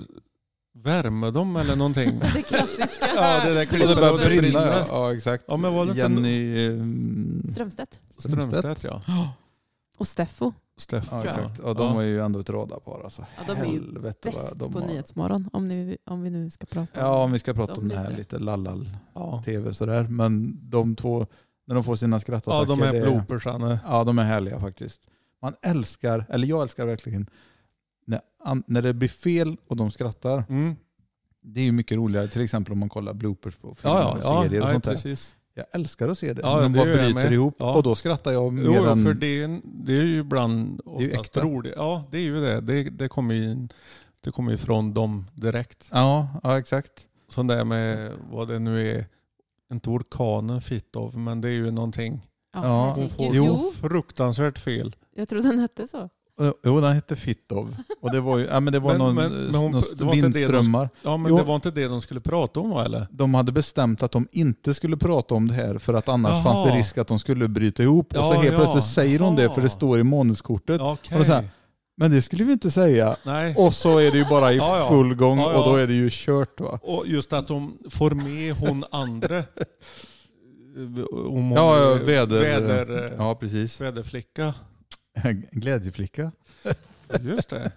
värma dem [LAUGHS] eller någonting. [LAUGHS] Det klassiska. ja, det där Och klippet. det börjar brinna. brinna. Ja, ja exakt. Ja, men var det inte en- Jenny ehm, Strömstedt Strömstedt ja. och Steffo. Steffo. Ja, tror jag. exakt. Ja, de var ju ändå ett radarpar alltså. Ja, de är ju Helvete vad Bäst de på har- Nyhetsmorgon om, ni, om vi nu ska prata Ja, om om vi ska prata De om det här lite. lite lallal-tv ja. sådär. Men de två, när de får sina ja, skrattattacker. de är det bloopers. Anne. Ja, de är härliga faktiskt. Man älskar, eller jag älskar verkligen, när, an, när det blir fel och de skrattar. Mm. Det är ju mycket roligare, till exempel om man kollar bloopers på filmer Ja, och ja, serier och ja, ja sånt där. precis. Jag älskar att se det. Ja, när de det bara gör jag bryter med. ihop Ja. och då skrattar jag Jo, mer än... för det, är- det är ju ibland är ju oftast äkta. roligt. Ja, det är ju det. Det, det kommer ju in- det kommer ju från dem direkt. Ja, ja, exakt. Sån där med vad det nu är, inte orkanen Fittov, men det är ju någonting. ja, Hon herregud. får jo, fruktansvärt fel. jag tror den hette så. Eh, Jo, den hette Fittov. Och det var ju, ja men det var Men- någon, eh, men- men hon- någon det var inte det de- vindströmmar. Ja, men Jo. det var inte det de skulle prata om va, eller? De hade bestämt att de inte skulle prata om det här för att annars Jaha. fanns det risk att de skulle bryta ihop. och så Ja, helt ja. plötsligt säger hon det för det Jaha. står i månadskortet. Okej. Och då så här- Men det skulle vi inte säga. Nej. Och så är det ju bara i Ja, ja. full gång Ja, ja. och då är det ju kört va. Och just att de får med hon andra. Om hon [LAUGHS] Ja, ja, är väder- väder Ja, precis. Väderflicka. [LAUGHS] Glädjeflicka. Just det.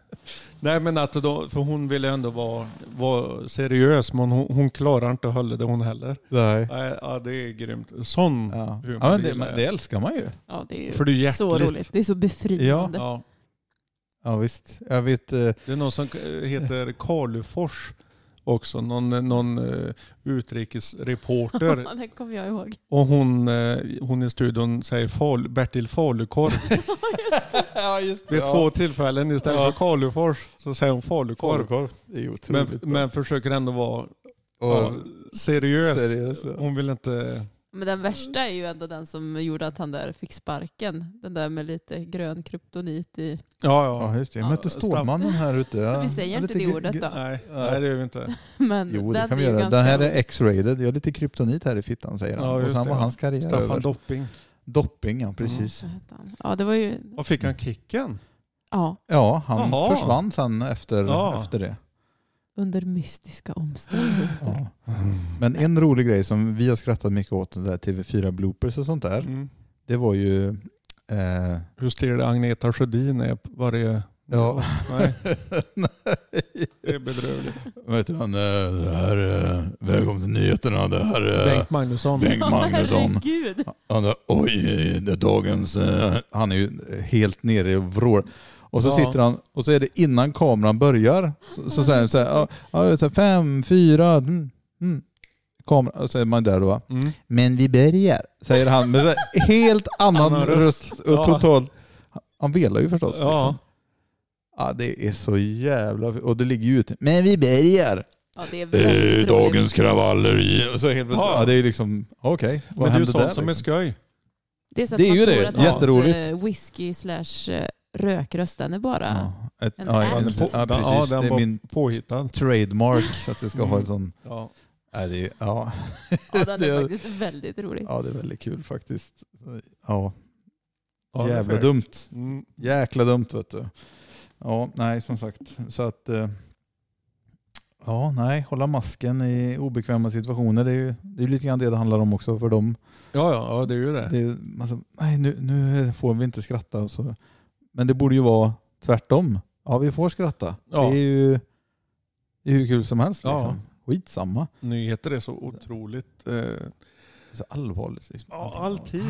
Nej men att då, för hon ville ändå vara, vara seriös men hon, hon klarar inte att hålla det hon heller. Nej. Nej, ja det är grymt. Sån. Ja. Ja. Humor Ja, men det, gillar jag. men det älskar man ju. Ja, det är ju För det är hjärtligt. så roligt. Det är så befriande. Ja visst. Jag vet, [LAUGHS] eh, Det är någon som heter Karlufors också. Någon, någon eh, [LAUGHS] utrikesreporter [LAUGHS] Ja, det kommer jag ihåg. Och hon, eh, hon i studion säger fal, Bertil [LAUGHS] Falukorv. ja, just Det är två tillfällen istället för Kalufors så säger hon Falukorv. korv. Det är ju otroligt Men, bra. men försöker ändå vara Och- ja, seriös. seriös, ja. Hon vill inte... Men den värsta är ju ändå den som gjorde att han där fick sparken. Den där med lite grön kryptonit i... Ja, Ja ja. just det, jag mötte Ja, Stålmannen här ute. Ja. [LAUGHS] Vi säger inte Lite det gr- ordet gr- då. Nej, nej, det gör vi inte. Men Jo det den kan vi är ju göra. ganska Den här rolig. är X-rated. Jag har lite kryptonit här i fittan säger han. Ja, och just sen det, var ja. hans karriär över. Staffan Dopping. Dopping Mm. ja, precis. Så hette han. Ja, det var ju... Och fick han kicken? Ja, Ja, han Jaha. försvann sen efter, Ja. efter det. under mystiska omständigheter. Ja. Men en rolig grej som vi har skrattat mycket åt, det där TV4 bloopers och sånt där, Mm. det var ju... Eh, Hur stel Agneta Sjödin är på varje... ja. Nej, [LAUGHS] Nej. det är bedrövligt. Vet du, han, eh, det här... eh, Välkommen till nyheterna. Det här eh, är Bengt Magnusson. Äh. Bengt [LAUGHS] Magnusson. Herregud. Han där, oj, det är dagens... eh." Han är ju helt nere och vrål. Och så Ja. sitter han, och så är det innan kameran börjar, så, så säger han så här, ja, ja, så här, fem, fyra, mm, mm. Kamera, och så är man där då va. Mm. Men vi börjar, säger han med så [LAUGHS] här, helt annan Annan röst. röst. och Ja. totalt. Han velar ju förstås. Ja. Liksom. Ja, det är så jävla... Och det ligger ju ute. Men vi börjar. Ja, det är Eh, väldigt roligt. kravaller i... Och så helt plötsligt. Ja. Ja. det är liksom... Okej, vad Men det är ju hände sånt där? som är liksom? skoj. Det är, så att Det är man ju tror det. Att hans, Jätteroligt. eh, whisky slash eh, rökröst, den är bara... Ja, ett, En ja, en, ja, app. precis. Ja, den det är var- min Påhittad. trademark. Så att jag ska ha en sån... Ja. Nej, det är, ja. [LAUGHS] Ja, [LAUGHS] den Det är är- faktiskt väldigt rolig. ja, det är väldigt kul faktiskt. Ja, Ja, det är jävla fair. dumt. Mm. Jäkla dumt vet du. Ja, nej som sagt. Så att... eh, Ja, nej. Hålla masken i obekväma situationer. Det är ju det är ju lite grann det det handlar om också för dem. Ja, ja, ja, det är ju det. Det är, ju- alltså, nej, nu, nu får vi inte skratta. och Så. Men det borde ju vara tvärtom. Ja, vi får skratta. Ja. Det är ju det är hur kul som helst. Ja. Liksom. Skitsamma. Nyheter är så otroligt... Eh, Så allvarligt. Liksom. ja, alltid.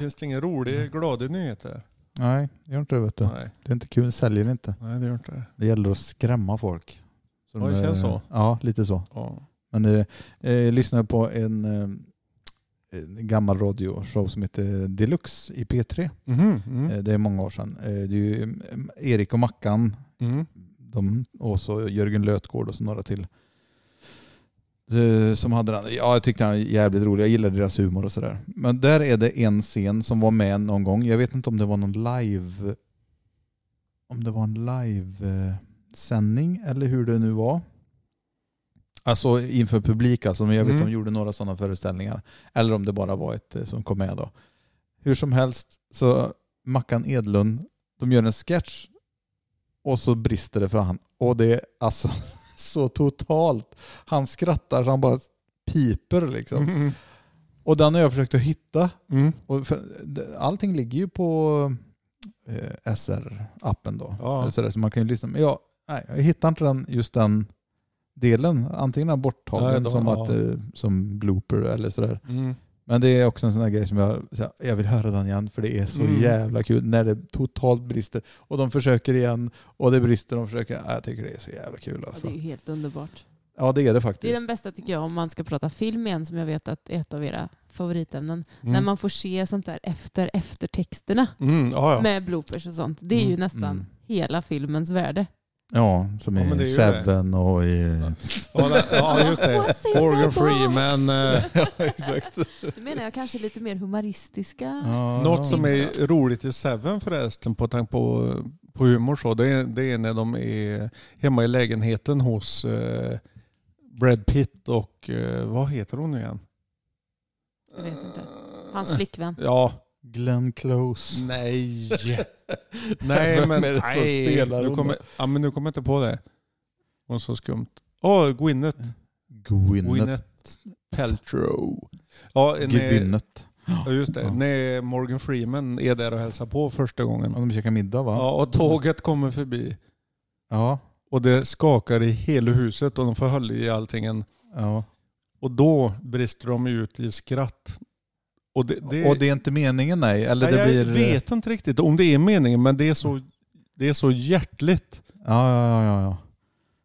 Finns det inga Mm. roliga, glada nyheter? Nej, gör inte det vet du. Nej, Det är inte kul. Säljer inte. nej det gör inte det. Det gäller att skrämma folk. Så Ja, de det är- känns så. Ja, lite så. Ja. Men eh, eh, jag lyssnade på en, eh, en gammal radioshow som heter Deluxe i P3. Mhm, mm, Eh, det är många år sedan. Eh, det är ju eh, Erik och Mackan, mm. de, och så Jörgen Lötgård och så några till. Eh, Som hade den. Ja, jag tyckte han var jävligt rolig. Jag gillade deras humor och sådär. Men där är det en scen som var med någon gång. Jag vet inte om det var någon live... Om det var en live-sändning eller hur det nu var. Alltså inför publik alltså. Men jag vet Mm. att de gjorde några sådana föreställningar. Eller om det bara var ett eh, som kom med då. Hur som helst så Mackan Edlund, de gör en sketch och så brister det för han. Och det är alltså [LAUGHS] så totalt. Han skrattar så han bara piper liksom. Mm. Och den har jag försökt att hitta. Mm. Och för, det- allting ligger ju på eh, SR-appen då. Ja. Eller sådär, så man kan ju lyssna. Men jag, nej, jag hittar inte den, just den delen. Antingen är den borttagen Nej, då- som, ja. att, eh, som blooper eller sådär. Mm. Men det är också en sån där grej som jag, så här, jag vill höra den igen för det är så Mm. jävla kul när det totalt brister. Och de försöker igen och det brister och de försöker. Ja, Jag tycker det är så jävla kul Ja, alltså. det är ju helt underbart. Ja det är det faktiskt. Det är den bästa tycker jag om man ska prata film igen som jag vet att är ett av era favoritämnen. Mm. När man får se sånt där efter eftertexterna mhm. Mm. Ja, ja. med bloopers och sånt. Det är ju Mm, nästan mm. hela filmens värde. Ja, som Ja, i men det är ju det. Seven och i... Ja, det- ja, [LAUGHS] just det. What's in the Morgan box? Freeman. Eh, [LAUGHS] ja, exakt. Det menar jag kanske lite mer humoristiska. [LAUGHS] Ja, ja. Något som är roligt i Seven förresten på tanke på, på humor så det är, det är när de är hemma i lägenheten hos eh, Brad Pitt och eh, vad heter hon nu igen? Jag vet inte. Hans flickvän. Ja. Glenn Close. [LAUGHS] Nej. nej Vem men är det som nej. spelar nu hon kommer, då? ja, men nu kommer jag inte på det. Det var så skumt. Åh, Gwyneth. Gwyneth. Gwyneth Paltrow. Ja, när, Gwyneth. ja, just det. Ja. När Morgan Freeman är där och hälsar på första gången. Ja, de käkar middag va? Ja, och tåget kommer förbi. Ja. Och det skakar i hela huset och de får hålla i alltingen. ja. Och då brister de ut i skratt. Och det, det, Och det är inte meningen nej? Eller det jag blir... vet inte riktigt om det är meningen, men det är så, det är så hjärtligt. Ja, ja, ja, ja, ja.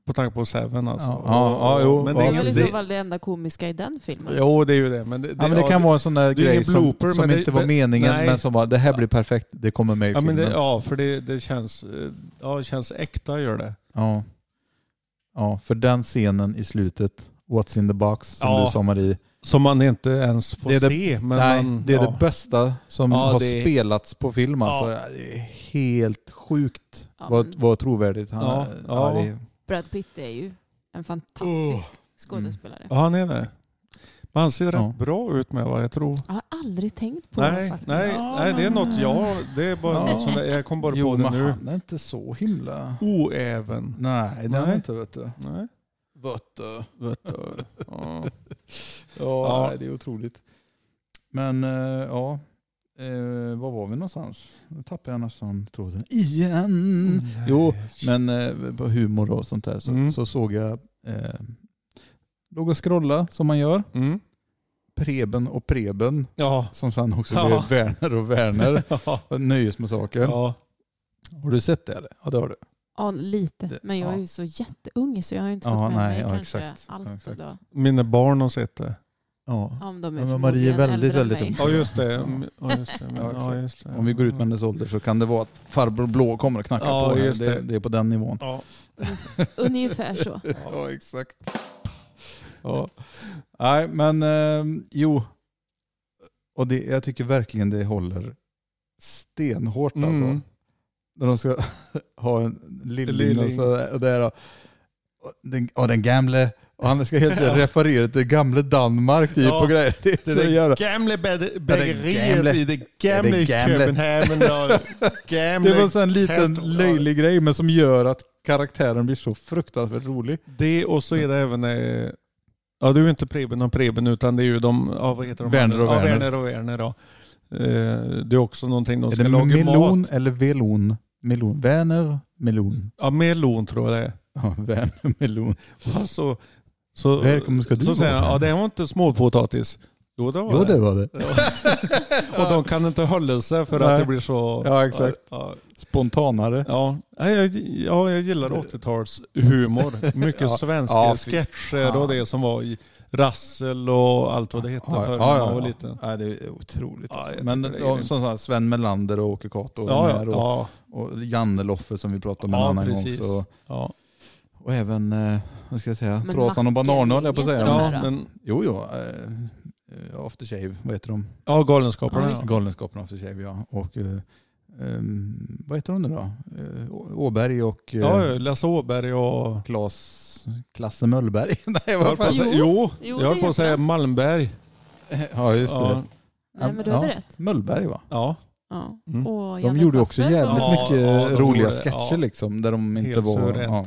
På tanke på Seven alltså. Ja, ja, ja, jo, men Det det, ja. är är väl i ingen- så det, fall det enda komiska i den filmen. jo, det är ju det. Men det, det, Ja, men det kan vara en sån där det är ingen grej som, blooper, som men det- inte var meningen nej. men som bara det här blir perfekt, det kommer med i ja, men filmen. det, ja. ja, för det, det, känns, eh, ja, det känns äkta gör det. Ja. för den scenen i slutet, What's in the box, som Ja. du sa Marie. Som man inte ens får Det är det- se. Men nej, man, det är ja. det bästa som Ja, har det- spelats på film alltså. Ja. Det är helt sjukt Ja, vad, men- vad trovärdigt han Ja, är. ja. det är- Brad Pitt är ju en fantastisk skådespelare. Mm. Ja, han är det. Men han ser Ja. rätt bra ut med vad jag tror. Jag har aldrig tänkt på det Nej, faktiskt. nej, Ja, nej, det är men- något jag... Det är bara Ja. något som jag, jag kom bara jo, på det men nu. han är inte så himla... Oäven. Nej, det är han Nej. inte vet du. Nej, Vet du. vet du. Ja. Ja, Ja. Nej, det är otroligt. Men eh, ja, eh, var var vi någonstans? Nu tappar jag nästan tråden igen. Mm. Jo, men eh, på humor och sånt där så, Mm. så såg jag, eh, låg och scrolla som man gör, Mm. Preben och Preben Ja. som sen också Ja. blev Werner och [LAUGHS] Werner, ja. Nöjesmassakern. ja. Har du sett det eller? Ja det har du. Ja, lite. Det- men jag är ju så jätteung så jag har ju inte Ja, fått med nej, mig ja, kanske exakt. allt Ja, exakt. idag. Mina barn har sett det. Ja. Ja, Om de är Ja, ja, men Marie är väldigt, väldigt ung. Ja, just det. Mm, Ja, just det. Men, Ja, ja, exakt. just det. Om vi går ut med hennes ålder så kan det vara att farbror blå kommer och knackar Ja, på henne. just Det. det. det är på den nivån. Ja. Ungefär så. [LAUGHS] Ja, exakt. Ja. Nej, men eh, jo. Och det, jag tycker verkligen det håller stenhårt alltså. Mm. När de ska [LAUGHS] ha en lilling och Lilling. så och där. Och, och den, och den gamle. Och han ska [LAUGHS] helt referera till gamle Danmark typ Ja, och grejer. Det Det är så jävla... är gamla bäd- gamla- bägeriet i det det gamla gamla- Köpenhamn. [LAUGHS] Det Det var en sån liten löjlig grej men som gör att karaktären blir så fruktansvärt rolig. Det och så är det även... eh, Ja, det är ju inte Preben och Preben utan det är ju de... Ja, vad heter de? Werner och ja, Werner. Werner och Werner ja. Eh, Det är också någonting de Är ska det laga melon mat. eller velon? Melon. Väner, melon. Ja, melon tror jag det är. Ja, [LAUGHS] Werner melon. Och Så, så, Välkommen ska du så vara, säger han, ja Werner." det här var inte småpotatis. Jo det var Jo, det var det. [LAUGHS] Och de kan inte hålla sig för Nej. att det blir så... Ja, exakt. Ja, Spontanare. ja. Nej, jag, ja jag gillar 80-talshumor. [LAUGHS] Mycket Ja. svenska Ja, fy sketcher fan. och det som var i Rassel och allt vad det hette förr när man var liten. Ja, det är otroligt. Ja, alltså. jag Men tycker det är ja, grymt. som sagt, Sven Melander och Åke Cato och, de här och, ja. och Janne Loffe som vi pratade om en Ja, annan precis. gång. Så, Ja, och även, eh, vad ska jag säga, Men Trasan och Mackan, Banan höll jag på att heter säga. de här ja, Ja. då? men, Jo, jo. Eh, eh, after Shave, vad heter de? ja Galenskaparna. Ja, Ja, visst. Galenskaparna After Shave, ja. Och, eh, eh, vad heter de nu då? Eh, Å- Åberg och eh, ja. ja, Lasse Åberg och... Klas, Klasse Möllberg. [LAUGHS] Nej, Jag höll vad på att fan? säga, jo, [LAUGHS] Jo, jag höll det på heter att säga han. Malmberg. Ja, just det. Ja, Nej, men du hade Ja. rätt. Möllberg va? Ja, Ja. Mm. Och De Janne gjorde ju också Schaffer. jävligt Ja, mycket eh, ja, de roliga gjorde- sketcher ja. liksom där de inte helt var... suveränt. Ja.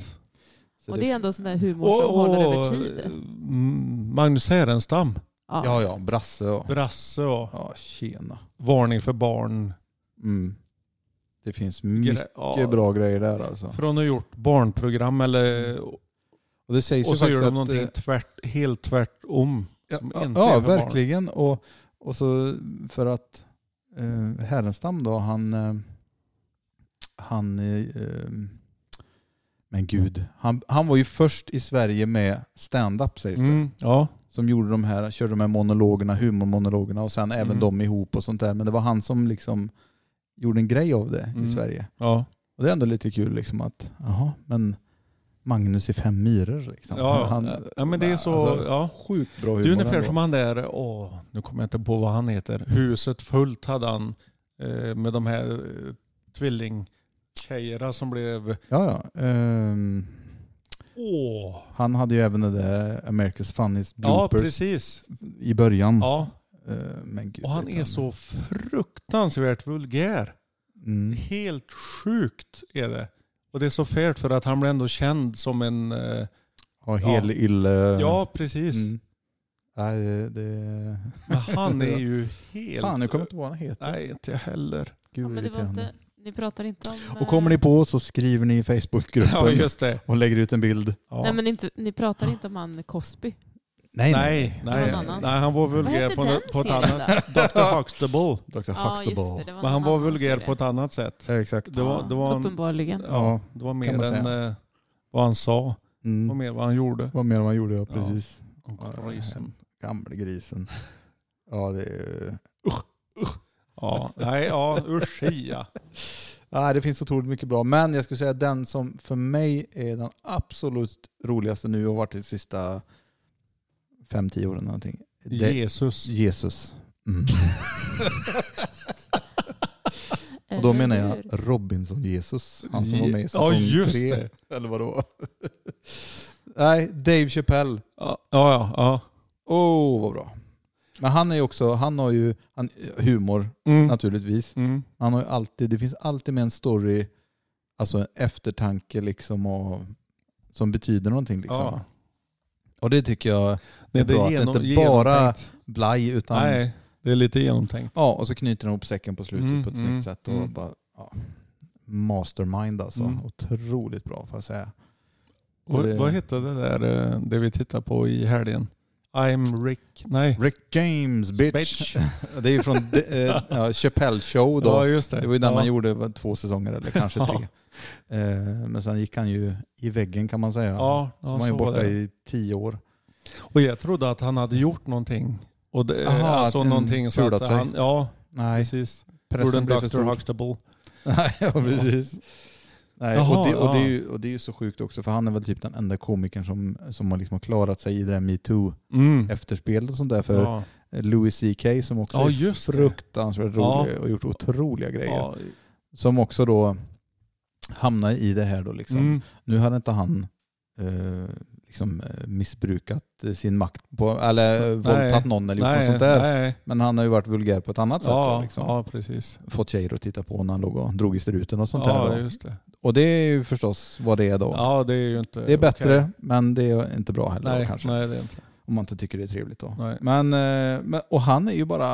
Så Och det- det är ändå sån där humor som håller över tid. mm, Magnus Härenstam, Ja. ja, ja, Brasse och... Brasse och Ja, tjena. Varning för barn. Mm. Det finns mycket Ja, bra grejer där alltså. För hon har gjort barnprogram eller, Och det sägs ju och så faktiskt gör de att, någonting eh, tvärt, helt tvärtom. Ja, som ja, inte är ja för barn. verkligen. Och, och så för att eh, Härenstam då, han... Eh, han eh, eh, men gud, han, han var ju först i Sverige med stand-up sägs det. Mm, ja. Som gjorde de här, körde de här monologerna, humormonologerna och sen även Mm. de ihop och sånt där. Men det var han som liksom gjorde en grej av det Mm. i Sverige. Ja. Och det är ändå lite kul liksom att, jaha, men Magnus i fem myror liksom. Ja, Han- ja, men det är så... alltså, ja. Sjukt bra humor. Det är ungefär ändå. som han där, åh, nu kommer jag inte på vad han heter, Huset fullt hade han eh, med de här eh, tvillingtjejerna som blev, Ja, ja. Ehm, åh. han hade ju även det där America's Funniest Ja, Bloopers precis. i början. Ja. Eh, men gud, Och han vet är så fruktansvärt vulgär. Mm. Helt sjukt är det. Och det är så färt för att han blir ändå känd som en... Eh, Ja, Ja. hel ylle. ja, precis. Mm. Nej, det... Men han är ju helt... Fan, nu kommer jag inte på vad han heter. Nej, inte jag heller. Gud, Ja, men det var irriterande. inte, ni pratar inte om... Och kommer ni eh, på så skriver ni i Facebookgruppen Ja, just det. och lägger ut en bild. Ja. Nej, men inte, ni pratar inte om han Cosby. Nej, Nej, nej, Någon annan. nej, han var Vad vulgär hette på, den en- på ett serien annat... då? Dr. Huxtable. Dr. Ja, just det. Huxtable. det var Men han en var annan vulgär serie. på ett annat sätt. Ja, exakt. Det var, det var, en, Uppenbarligen. Ja, ja, det var mer kan man än säga. eh, vad han sa och mm. mer vad han gjorde. Vad mer man gjorde, ja Ja. precis. Grisen. Gamle grisen. Ja, det är... Ja, nej, ja, usch ja. Ja, det finns otroligt mycket bra. Men jag skulle säga den som för mig är den absolut roligaste nu och har varit de sista fem tio åren. eller Någonting. [LAUGHS] Det är Jesus. Jesus. Mm. Och då Eller menar hur? jag Robinson-Jesus. Han som var med i säsong Ja, just tre. det. Eller vadå? [LAUGHS] Nej, Dave Chappelle. Ja, ja, ja. Åh, oh, vad bra. Men han är ju också, han har ju han, humor Mm. naturligtvis. Mm. Han har ju alltid, det finns alltid med en story, alltså en eftertanke liksom och, som betyder någonting. Liksom. Ja. Och det tycker jag Nej, är bra. att det inte bara genomtänkt. blaj utan... Nej, det är lite genomtänkt. Ja, och så knyter han ihop säcken på slutet Mm, på ett snyggt mm, sätt. Och mm. bara, ja. Mastermind alltså. Mm. Otroligt bra får jag säga. Och, det- Vad hette det där eh, det vi tittade på i helgen? I'm Rick... Nej. Rick James bitch. Bitch. [LAUGHS] Det är ju från eh, ja, Chappelle show då. Ja, just det. Det var ju den ja. man gjorde var två säsonger [LAUGHS] eller kanske tre. Eh, Men sen gick han ju i väggen kan man säga. Ja, så var ja han så ju var borta det. i tio år. Och jag trodde att han hade gjort någonting. Och det, Aha, alltså att en någonting så fulat att sig. han, Ja, Nej, precis. Gjorde pressen en blev för Dr. stor. Huxtable. [LAUGHS] Nej, ja, precis. Nej, Jaha, och, det, och, det är ja. ju, och det är ju så sjukt också för han är väl typ den enda komikern som, som har liksom klarat sig i det där Mm. metoo-efterspelet och sånt där. För Ja. Louis CK som också Ja, just är det. fruktansvärt Ja. rolig och gjort otroliga grejer. Liksom. Ja. Som också då hamnar i det här då liksom. Mm. Nu hade inte han eh, liksom eh, missbrukat eh, sin makt på, eller eh, våldtagit någon eller gjort något sånt där. nej. Men han har ju varit vulgär på ett annat sätt. Ja, Då, liksom. ja, precis. Fått tjejer att titta på när han låg och drog i struten och sånt Ja, där. Då. just det. Och det är ju förstås vad det är då. Ja, det är ju inte... Det är bättre, okej. men det är inte bra heller då, Nej, kanske. nej, det är inte. Om man inte tycker det är trevligt då. Nej. Men, eh, men, och han är ju bara...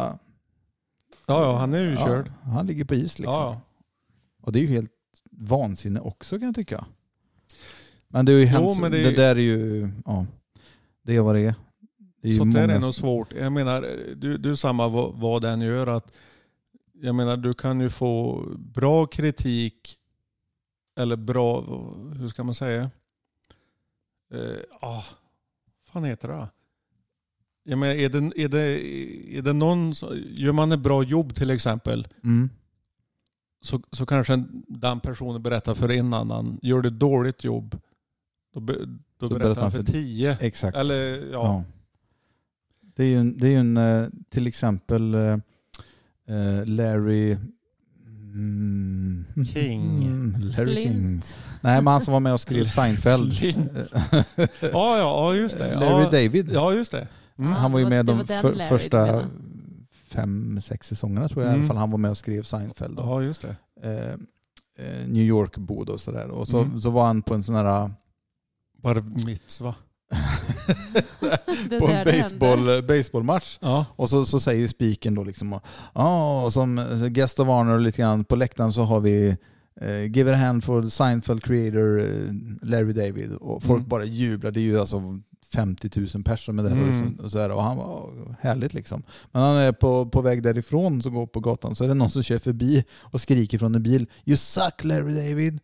Ja, ja, han är ju körd. Ja, han ligger på is liksom. Ja, Och det är ju helt vansinne också kan jag tycka. Men det är ju hemskt. men det, det är- där är ju... Ja, det är vad det är. Det är ja. ju Sånt där många är som- nog svårt. Jag menar, du, du är samma vad, vad den gör. Att, jag menar, du kan ju få bra kritik eller bra, hur ska man säga? Eh, ah, fan heter det? då? Jag menar, är det, är det, är det någon, som- gör man ett bra jobb till exempel Mm. så, så kanske en- den personen berättar för en annan. Gör du ett dåligt jobb, då, be, då Så berättar han för tio. Exakt. Eller ja, ja. Det är ju en, det är ju en eh, till exempel eh, eh, Larry... Mm, King. Mm, Larry King. Flint. Nej, men han som var med och [LAUGHS] skrev Seinfeld. [LAUGHS] Flint. ja, ja, ja, just det. Larry Ja, David. ja just det. Mm. Ja, Han var ju det var- med det de var den för, Larry du första menar. fem, sex säsongerna tror jag i Mm. alla fall han var med och skrev Seinfeld. Då. Ja, just det. Eh, eh, New York-bod och sådär. Och så, Mm. så var han på en sån här... [LAUGHS] Bara mitzva. Det på där en det händer. baseball, baseballmatch. Ja. Och så, så säger spiken då liksom, ja, och som guest of honor lite grann på läktaren så har vi eh, Give it a hand for Seinfeld creator eh, Larry David. Och folk Mm. bara jublar, det är ju alltså 50 000 personer där. Mm. Och, liksom, och, så här, och han var "Åh, härligt liksom. Men när han är på, på väg därifrån så går på gatan så är det någon som kör förbi och skriker från en bil You suck Larry David.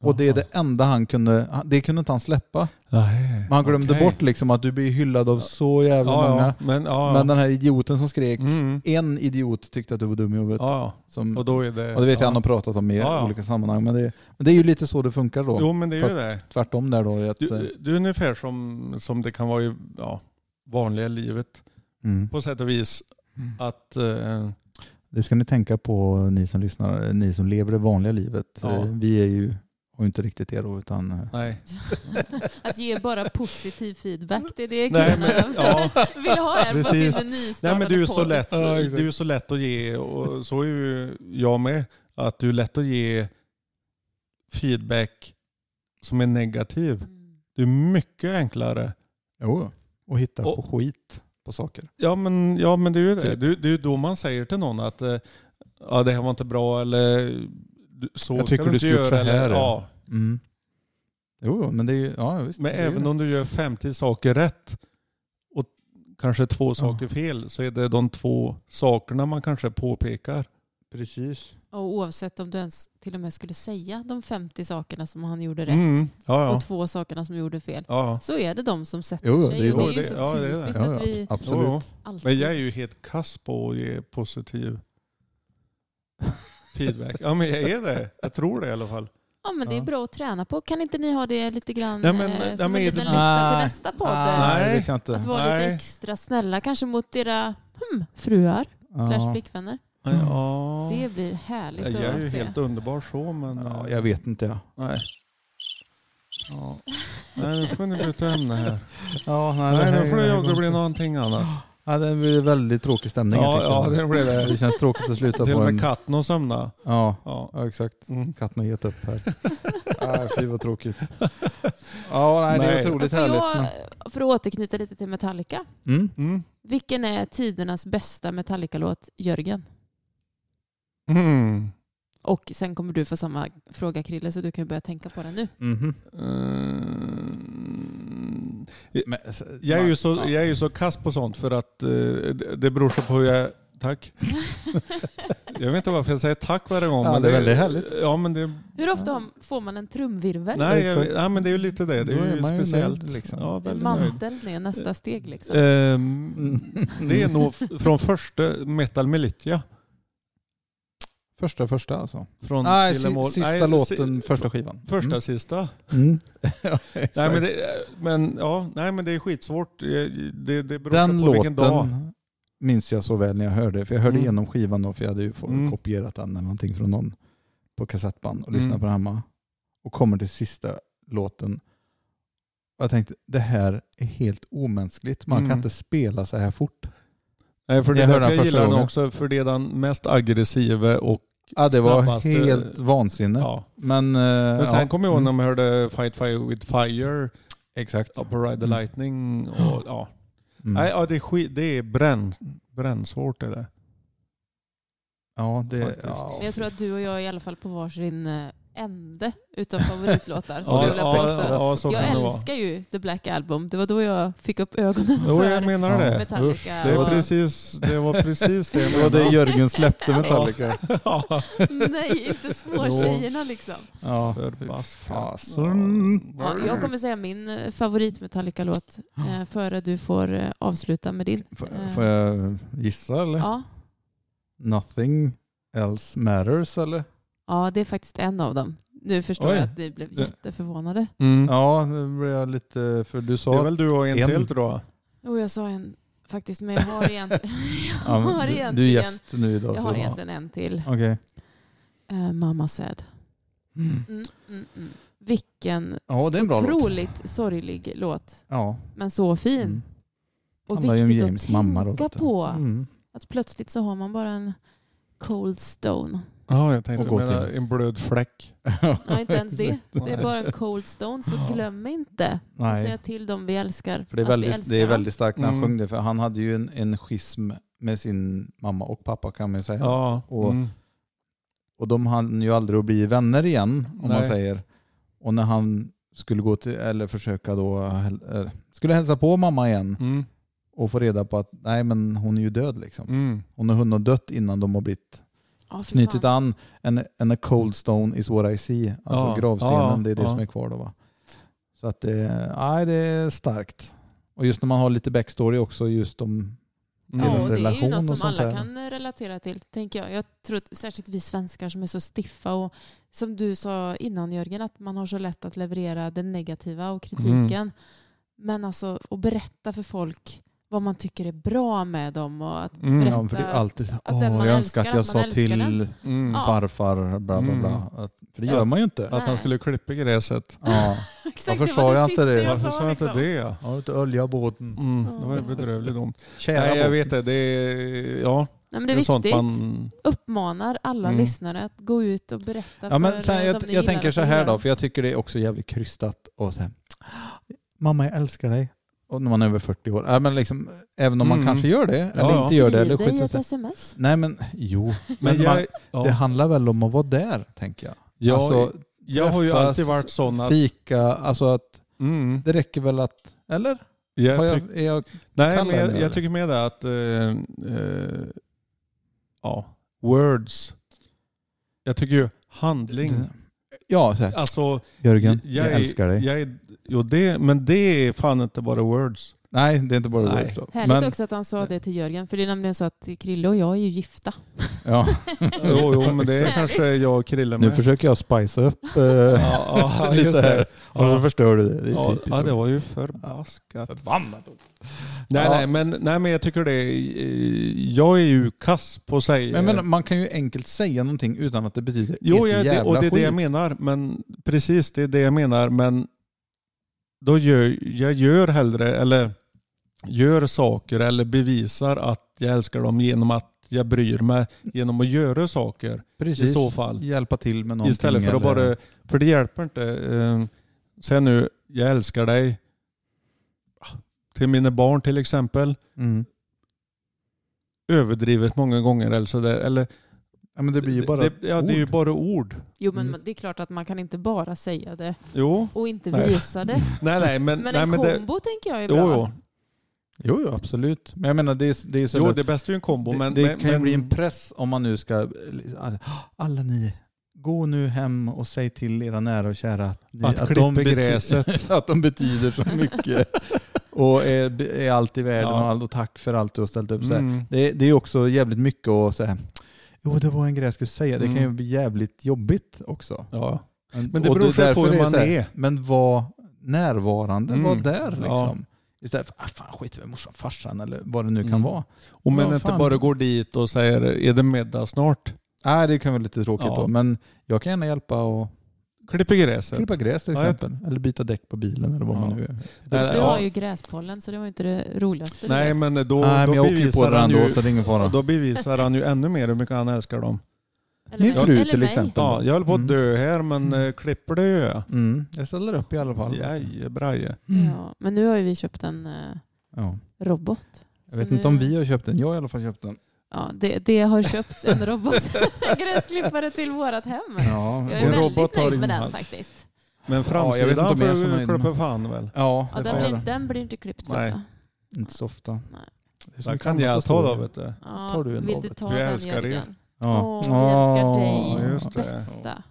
Och det är det enda han kunde, han- det kunde inte han släppa. Men han glömde Okej. bort liksom att du blir hyllad av så jävla ja, många. Ja, men, ja, Men ja. den här idioten som skrek, Mm. en idiot tyckte att du var dum i huvudet. ja, Som, ja. och och, då är det... det vet ja. jag han har pratat om i Ja, ja. olika sammanhang. Men det, men det är ju lite så det funkar då. Jo, men det är Fast- ju det. Tvärtom där då. i Att, eh, Du, du är ungefär som, som det kan vara i ja, vanliga livet mm. på sätt och vis. Att, eh, Det ska ni tänka på ni som lyssnar, ni som lever det vanliga livet. Ja. Eh, Vi är ju och inte riktigt det då utan... eh, nej. [LAUGHS] Att ge bara positiv feedback, det är det Nej, killarna men, ja. vill ha här på Precis. sin nej, nystartade men du är så podd. lätt, Ja, exakt. du är så lätt att ge, och så är ju jag med, att du är lätt att ge feedback som är negativ. Mm. Det är mycket enklare. Jo, och hitta Och- på skit på saker. Ja men, ja, men det är ju det. Typ. Det, är- det är ju då man säger till någon att eh, ja, det här var inte bra eller du- så Jag tycker ska du inte skulle gjort göra. så här, eller, ja. ja. Mm. Jo, jo, men det är ju... Ja, visst, Men det är ju även det. om du gör 50 saker rätt och kanske två saker fel så är det de två sakerna man kanske påpekar. Precis. Och oavsett om du ens till och med skulle säga de 50 sakerna som han gjorde rätt Mm. Ja, ja. och två sakerna som gjorde fel, ja. så är det de som sätter Jo, jo, sig. det är ju och det de. är ju så Ja, det är det. typiskt Ja, att ja, vi absolut. Jo, jo. alltid... Men jag är ju helt kass på att ge positiv feedback. Ja men jag är det. Jag tror det i alla fall. Ja, men det är Ja. bra att träna på. Kan inte ni ha det lite grann Ja, men- eh, ja, som men- en Ah. liten läxa Nej. till nästa podd? Nej, Nej. det vet jag inte. Att vara Nej. lite extra snälla, kanske mot era hmm, fruar slash Ja. flickvänner. Men, Ja. Det blir härligt Jag är att ju se. helt underbar så men... eh, Ja, jag vet inte ja. Nej. Ja. Nej, nu får ni byta ämne här. Ja, Nej, nu får det jag bli någonting annat. Ja, det blir väldigt tråkig stämning. Ja, jag ja tycker. det blev det. [LAUGHS] det känns tråkigt att sluta Till på och en... med katten har somnat. Ja, Ja. ja, exakt. [LAUGHS] Mm. Katten har gett upp här. ah, fy vad [LAUGHS] tråkigt. Ja, nej, det Nej. är otroligt Får Alltså, jag, härligt. för att återknyta lite till Metallica. men- Mm? Mm. Vilken är tidernas bästa Metallica-låt, Jörgen? Mm. Och sen kommer du få samma fråga Krille, så du kan ju börja tänka på den nu. Mhm. Mm. Men, s- Jag är ju så, Ja. jag är ju så kass på sånt för att eh, det det beror så på hur jag... Tack. [LAUGHS] Jag vet inte varför jag säger tack varje gång. Ja, men det är väldigt härligt. Ja, men det, Hur ofta har- får man en trumvirvel? nej, jag, Exakt. nej, men det är ju lite det. Det Då är är ju man ju speciellt. nöjd, liksom. Ja, väldigt nöjd. Eh, Manteln är nästa steg liksom. Ehm, [LAUGHS] Mm. Det är nog f- från första Metal Militia. Första, första alltså. Från Nej, Kill 'Em All. si- sista Nej, låten, si- första skivan. Första Mm. sista. Mm. [LAUGHS] Ja, exakt. Nej men, det, men, ja, nej men det är skitsvårt. Det, det, det beror Den på vilken låten dag. minns jag så väl när jag hörde. För jag hörde Mm. igenom skivan då, för jag hade ju fått- Mm. kopierat den eller någonting från någon på kassettband och lyssnade Mm. på den hemma. Och kommer till sista låten. Och jag tänkte, det här är helt omänskligt. Man Mm. kan inte spela så här fort. Nej, för det är Jag hörde därför den jag första gillar den gången. också. För det är den mest aggressiva och Ja, det var Snabbaste- helt vansinne. ja. Men, eh, Men sen ja. kommer jag ihåg när Mm. man hörde Fight Fire with Fire Exakt. ja, på Ride the Mm. Lightning. Och, ja. Mm. Nej, ja, det är, skit, det är bränn, brännsvårt är det. ja, det, faktiskt. ja. Men jag tror att du och jag är i alla fall på varsin eh, ände utav favoritlåtar. det ja, är jag så- ja, ja, ja, så jag kan det vara. älskar ju The Black Album. Det var då jag fick upp ögonen Jo, för jag menar det. Metallica. Usch, det Det, är och- precis, det var precis det jag Det var det menade. Jörgen släppte Metallica. [LAUGHS] [LAUGHS] Ja. Nej, inte småtjejerna liksom. Ja. Fasen. Fasen. Ja, jag kommer säga min eh, favorit Metallica-låt eh, före du får eh, avsluta med din. Får, får jag gissa eller? Ja. Nothing else matters eller? Mm. ja, det är faktiskt en av dem. Nu förstår Oj. jag att ni blev jätteförvånade. Ja, nu blir jag lite... För du Det är sa... väl du och en, Mm. En. till tror jag. Jo, Oh, jag sa en faktiskt, men jag [LAUGHS] har, egent... jag Ja, men [LAUGHS] har du, egentligen, du är gäst nu idag. jag så- har egentligen en till. Okej. Eh, Mamma Sad. Mm. Mm, mm, mm. Vilken Ja, det är en bra låt. otroligt sorglig låt, Ja. men så fin. Mm. Och Handlar ju om viktigt James att mamma då, tänka vet du. på. Mm. Att plötsligt så har man bara en [LAUGHS] cold stone. Ja, jag Och tänkte gå mena till. en blöd fläck. Nej, inte ens det. Det är Nej. bara en cold stone, så glöm inte att Nej. säga till dem vi älskar. [LAUGHS] För det är, att vi väldigt, Alltså, älskar det är dem. väldigt starkt när han Mm. sjöng det, för han hade ju en, en schism med sin mamma och pappa kan man ju säga. Ja. Och- mm. Och de hann ju aldrig att bli vänner igen, om man Nej. säger. Och när han skulle gå till, eller försöka då, häl- eh, skulle hälsa på mamma igen Mm. och få reda på att nej men hon är ju död liksom. Mm. Hon har hunnit död innan de har blivit Ja, fy knutit fan. an. And, and a cold stone is what I see. Alltså Ja, gravstenen, ja, det är det ja. som är kvar då va. Så att det, nej, det är starkt. Och just när man har lite backstory också just om Mm. Ja, deras och det är ju relation och något som sånt alla där. kan relatera till, tänker jag. Jag tror att särskilt vi svenskar som är så stiffa och som du sa innan Jörgen, att man har så lätt att leverera det negativa och kritiken. Mm. Men alltså att berätta för folk vad man tycker är bra med dem och att Mm. berätta. Ja, för det är alltid så, den åh, man jag önskar att älskar, jag att sa man älskar till den." Mm. Ja. farfar, bla bla Mm. bla. Att, för det Ja. gör man ju inte. Att han skulle klippa gräset. Ja. Exakt, Varför det sa var jag inte sista det? jag Varför sa jag inte liksom. det? ja? Har du inte olja båten? Mm. Det var en bedrövlig dom. Kära Nej, jag båten. vet det. Det är, ja, Nej, men det det är är sånt viktigt. man... Uppmanar alla Mm. lyssnare att gå ut och berätta Ja, för men sen, eh, jag, dem ni jag gillar tänker att så de här gör. då, för jag tycker det är också jävligt krystat och så här, Mamma jag älskar dig. Och när man är över 40 år. Ja, men liksom, även om man Mm. kanske gör det, eller ja. inte gör det. Eller Skriv dig skit, ett så här. sms. Nej men [LAUGHS] jo, men Men jag, man, det ja, handlar väl om att vara där tänker jag. jag, alltså, jag har ju träffas, alltid varit sån att... Fika, alltså att Mm, det räcker väl att, eller? Har jag jag, tyck, är jag, nej, kallar men det, jag, eller? jag tycker med det att... Eh, eh, ja, words. Jag tycker ju handling. ja, så här, Alltså, Jörgen, jag, Mm. jag är- älskar dig. jag är, jo, det, men det är fan inte bara words. Nej, det är inte bara Nej. words då. Härligt också att han sa det till Jörgen, för det är nämligen så att Krille och jag är ju gifta. Ja, [LAUGHS] Jo, jo men det är Exakt. kanske jag och Krille nu med. försöker jag spicea upp eh, ja, [LAUGHS] [LAUGHS] ja, just lite här. det. Och så Ja. förstör du det. Det är Ja, typiskt. ja, det var ju förbaskat. Förbannat Nej, Ja. nej, men, nej, men jag tycker det. är- eh, Jag är ju kass på sig. Men, men man kan ju enkelt säga någonting utan att det betyder jo, ett jag, det, jävla och det är det jag skit. menar. Men precis, det är det jag menar. Men då gör jag gör hellre, eller gör saker eller bevisar att jag älskar dem genom att jag bryr mig genom att göra saker Precis. i så fall. Hjälpa till med någonting. istället för att eller- bara... För det hjälper inte. Eh, Säg nu, jag älskar dig. Ah, Till mina barn till exempel. Mm. Överdrivet många gånger eller sådär. Eller Ja, men det blir ju bara det, ja, det är ju ord. bara ord. Jo men Mm. det är klart att man kan inte bara säga det Jo. och inte Nej. [LAUGHS] visa det. Nej, nej, men... Men nej, en men det, kombo tänker jag är jo, bra. jo. Jo, jo, absolut. Men jag menar, det är, det är så jo, lätt- det bästa är ju en kombo. det, men, det men, kan ju men, bli en press om man nu ska... Alla ni, gå nu hem och säg till era nära och kära att, ni, Att klippa bety- [LAUGHS] gräset. att de betyder så [LAUGHS] mycket. och är, är allt i världen Ja. och, allt, och tack för allt du har ställt upp. Så här. Mm. Det, det är också jävligt mycket att säga Jo, det var en grej jag skulle säga. Det kan ju Mm. bli jävligt jobbigt också. Ja. Men, det och beror är själv på därför hur det man så här, är. Men var närvarande, Mm. var där liksom. Ja. Istället för, ah, fan skit i morsan, farsan eller vad det nu kan Mm. vara. Och men Ja, inte fan. bara går dit och säger är det middag snart? Nej, det kan vara lite tråkigt Ja. då, men jag kan gärna hjälpa och Klipper gräset. klippa gräs till Ja, jag- exempel. Eller byta däck på bilen eller vad Ja. man nu är. Nej, Du ja. har ju gräspollen så det var ju inte det roligaste. du Nej, vet. men då, Nej, men då jag åker ju på bevisar den han ändå ju... så det är ingen fara. Då bevisar han ju ännu mer hur mycket han älskar dem. Eller Min nej. fru Eller till nej. exempel. Ja, jag höll på Mm. att dö här men eh, klipper det gör jag. Mm. Jag ställer upp i alla fall. Jajebraje. Mm. Ja, men nu har ju vi köpt en eh, Ja. robot. Jag Så vet nu, inte om vi har köpt den. Jag har i alla fall köpt den. Ja, det, det har köpt en robot, [LAUGHS] en gräsklippare till vårt hem. Ja, Jag En är robot väldigt har nöjd med ingen den hals. faktiskt. Men jag vet inte framsidan om jag är så får nöjd du med- klippa fan väl. ja Ja, det den, får jag blir, göra. den blir inte klippt. Nej. vet jag. Inte så ofta. Nej. Det är så Så mycket kan annat jag att ta göra. då vet du. Ja, Tar du en vill du robot? ta Vi den älskar er. Jörgen? Ja. Åh, vi älskar Ja, dig. just det. Bästa.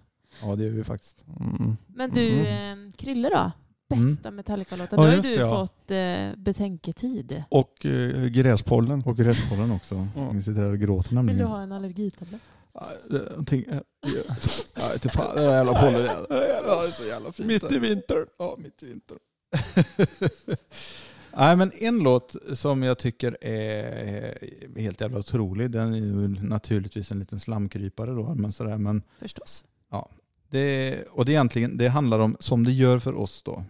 Ja, det gör vi faktiskt. Mm. Men du, eh, Krille då? Bästa Metallica-låten. Ja, nu har ju just du det, ja. fått eh, betänketid. Och eh, gräspollen. Och gräspodden också. Ja. Ni sitter här och gråter Vill du nämligen. ha en allergitablett? Ja, det- någonting- ja, ja. Ja, inte fan, den där jävla pollen. ja. Ja, det är så jävla fint. Mitt i vintern. Ja, mitt i vintern. [LAUGHS] Nej, men en låt som jag tycker är helt jävla otrolig, den är ju naturligtvis en liten slamkrypare då, men sådär, men Förstås. det, och det, är egentligen, det handlar om, som det gör för oss då,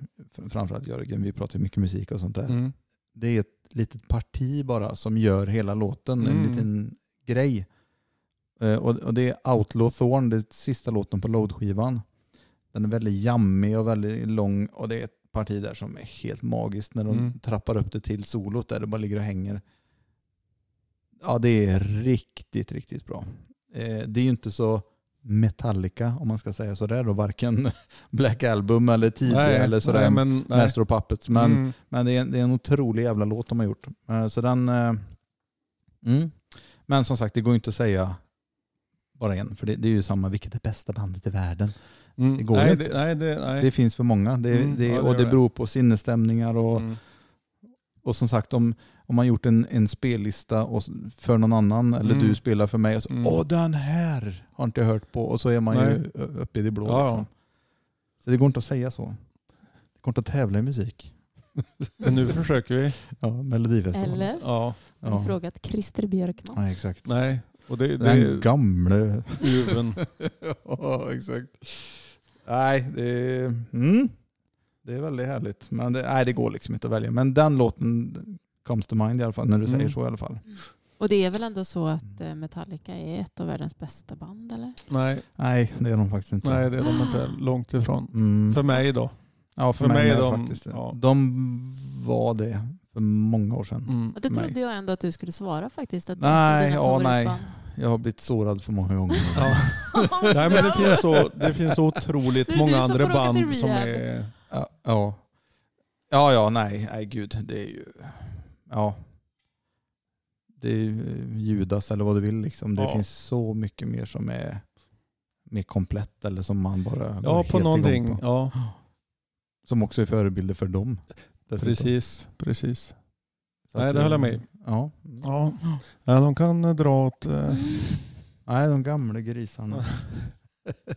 framförallt Jörgen, vi pratar ju mycket musik och sånt där, Mm. det är ett litet parti bara som gör hela låten, en Mm. liten grej. Eh, och, och det är Outlaw Thorn, det är sista låten på Load-skivan. Den är väldigt jammig och väldigt lång och det är ett parti där som är helt magiskt när de Mm. trappar upp det till solot där det bara ligger och hänger. Ja, det är riktigt, riktigt bra. Eh, det är ju inte så Metallica, om man ska säga sådär då, varken [LAUGHS] Black Album eller tidigare eller sådär. nej, men, nej. Master of Puppets. Men, Mm. men det, är, det är en otrolig jävla låt de har gjort. Eh, Så den... eh, Mm. Men som sagt, det går ju inte att säga bara en. För det, det är ju samma, vilket är bästa bandet i världen? Mm. det går nej, inte. Det, nej, det, nej. Det finns för många. Det, Mm, det, ja, det och gör det det. beror på sinnesstämningar och, Mm. och som sagt om, om man gjort en, en spellista och, s- för någon annan eller Mm. du spelar för mig och så Mm. åh den här har inte jag hört på och så är man ju Nej. ö- uppe i det blå. Ja, ja. Liksom. Så det går inte att säga så. Det går inte att tävla i musik. Men nu försöker vi. Ja, Melodifestivalen. Eller? Ja, Har du frågat Christer Björkman? Nej, exakt. nej. Och det, det Den är gamle. uven. [LAUGHS] ja, exakt. Nej, det är, mm, det är väldigt härligt. Men det, nej, det går liksom inte att välja. Men den låten comes to mind i alla fall, när du Mm. säger så i alla fall. Och det är väl ändå så att eh, Metallica är ett av världens bästa band, eller? Nej, Nej, det är de faktiskt inte. nej, det är de inte långt ifrån. Mm. För mig då. ja, för, för mig mig är är de, de- faktiskt det. ja. De var det för många år sedan. Mm. Och det Nej. trodde jag ändå att du skulle svara faktiskt. Att Nej, det är ett ja, av dina favoritband. Jag har blivit sårad för många gånger. Ja. [LAUGHS] Nej, men det finns så, det finns så Det otroligt är du många som andra får åka till band som rehab. är... Ja, ja. Ja, ja, nej, nej gud. Det är ju... Ja. Det är ju eh, Judas eller vad du vill liksom. Det Ja. finns så mycket mer som är mer komplett eller som man bara går Ja, helt på igång någonting. på. Ja, Som också är förebilder för dem. dessutom. precis. precis. Så att Nej, det håller jag med. Ja. Ja. ja, de kan dra åt... eh, Nej, de gamla grisarna.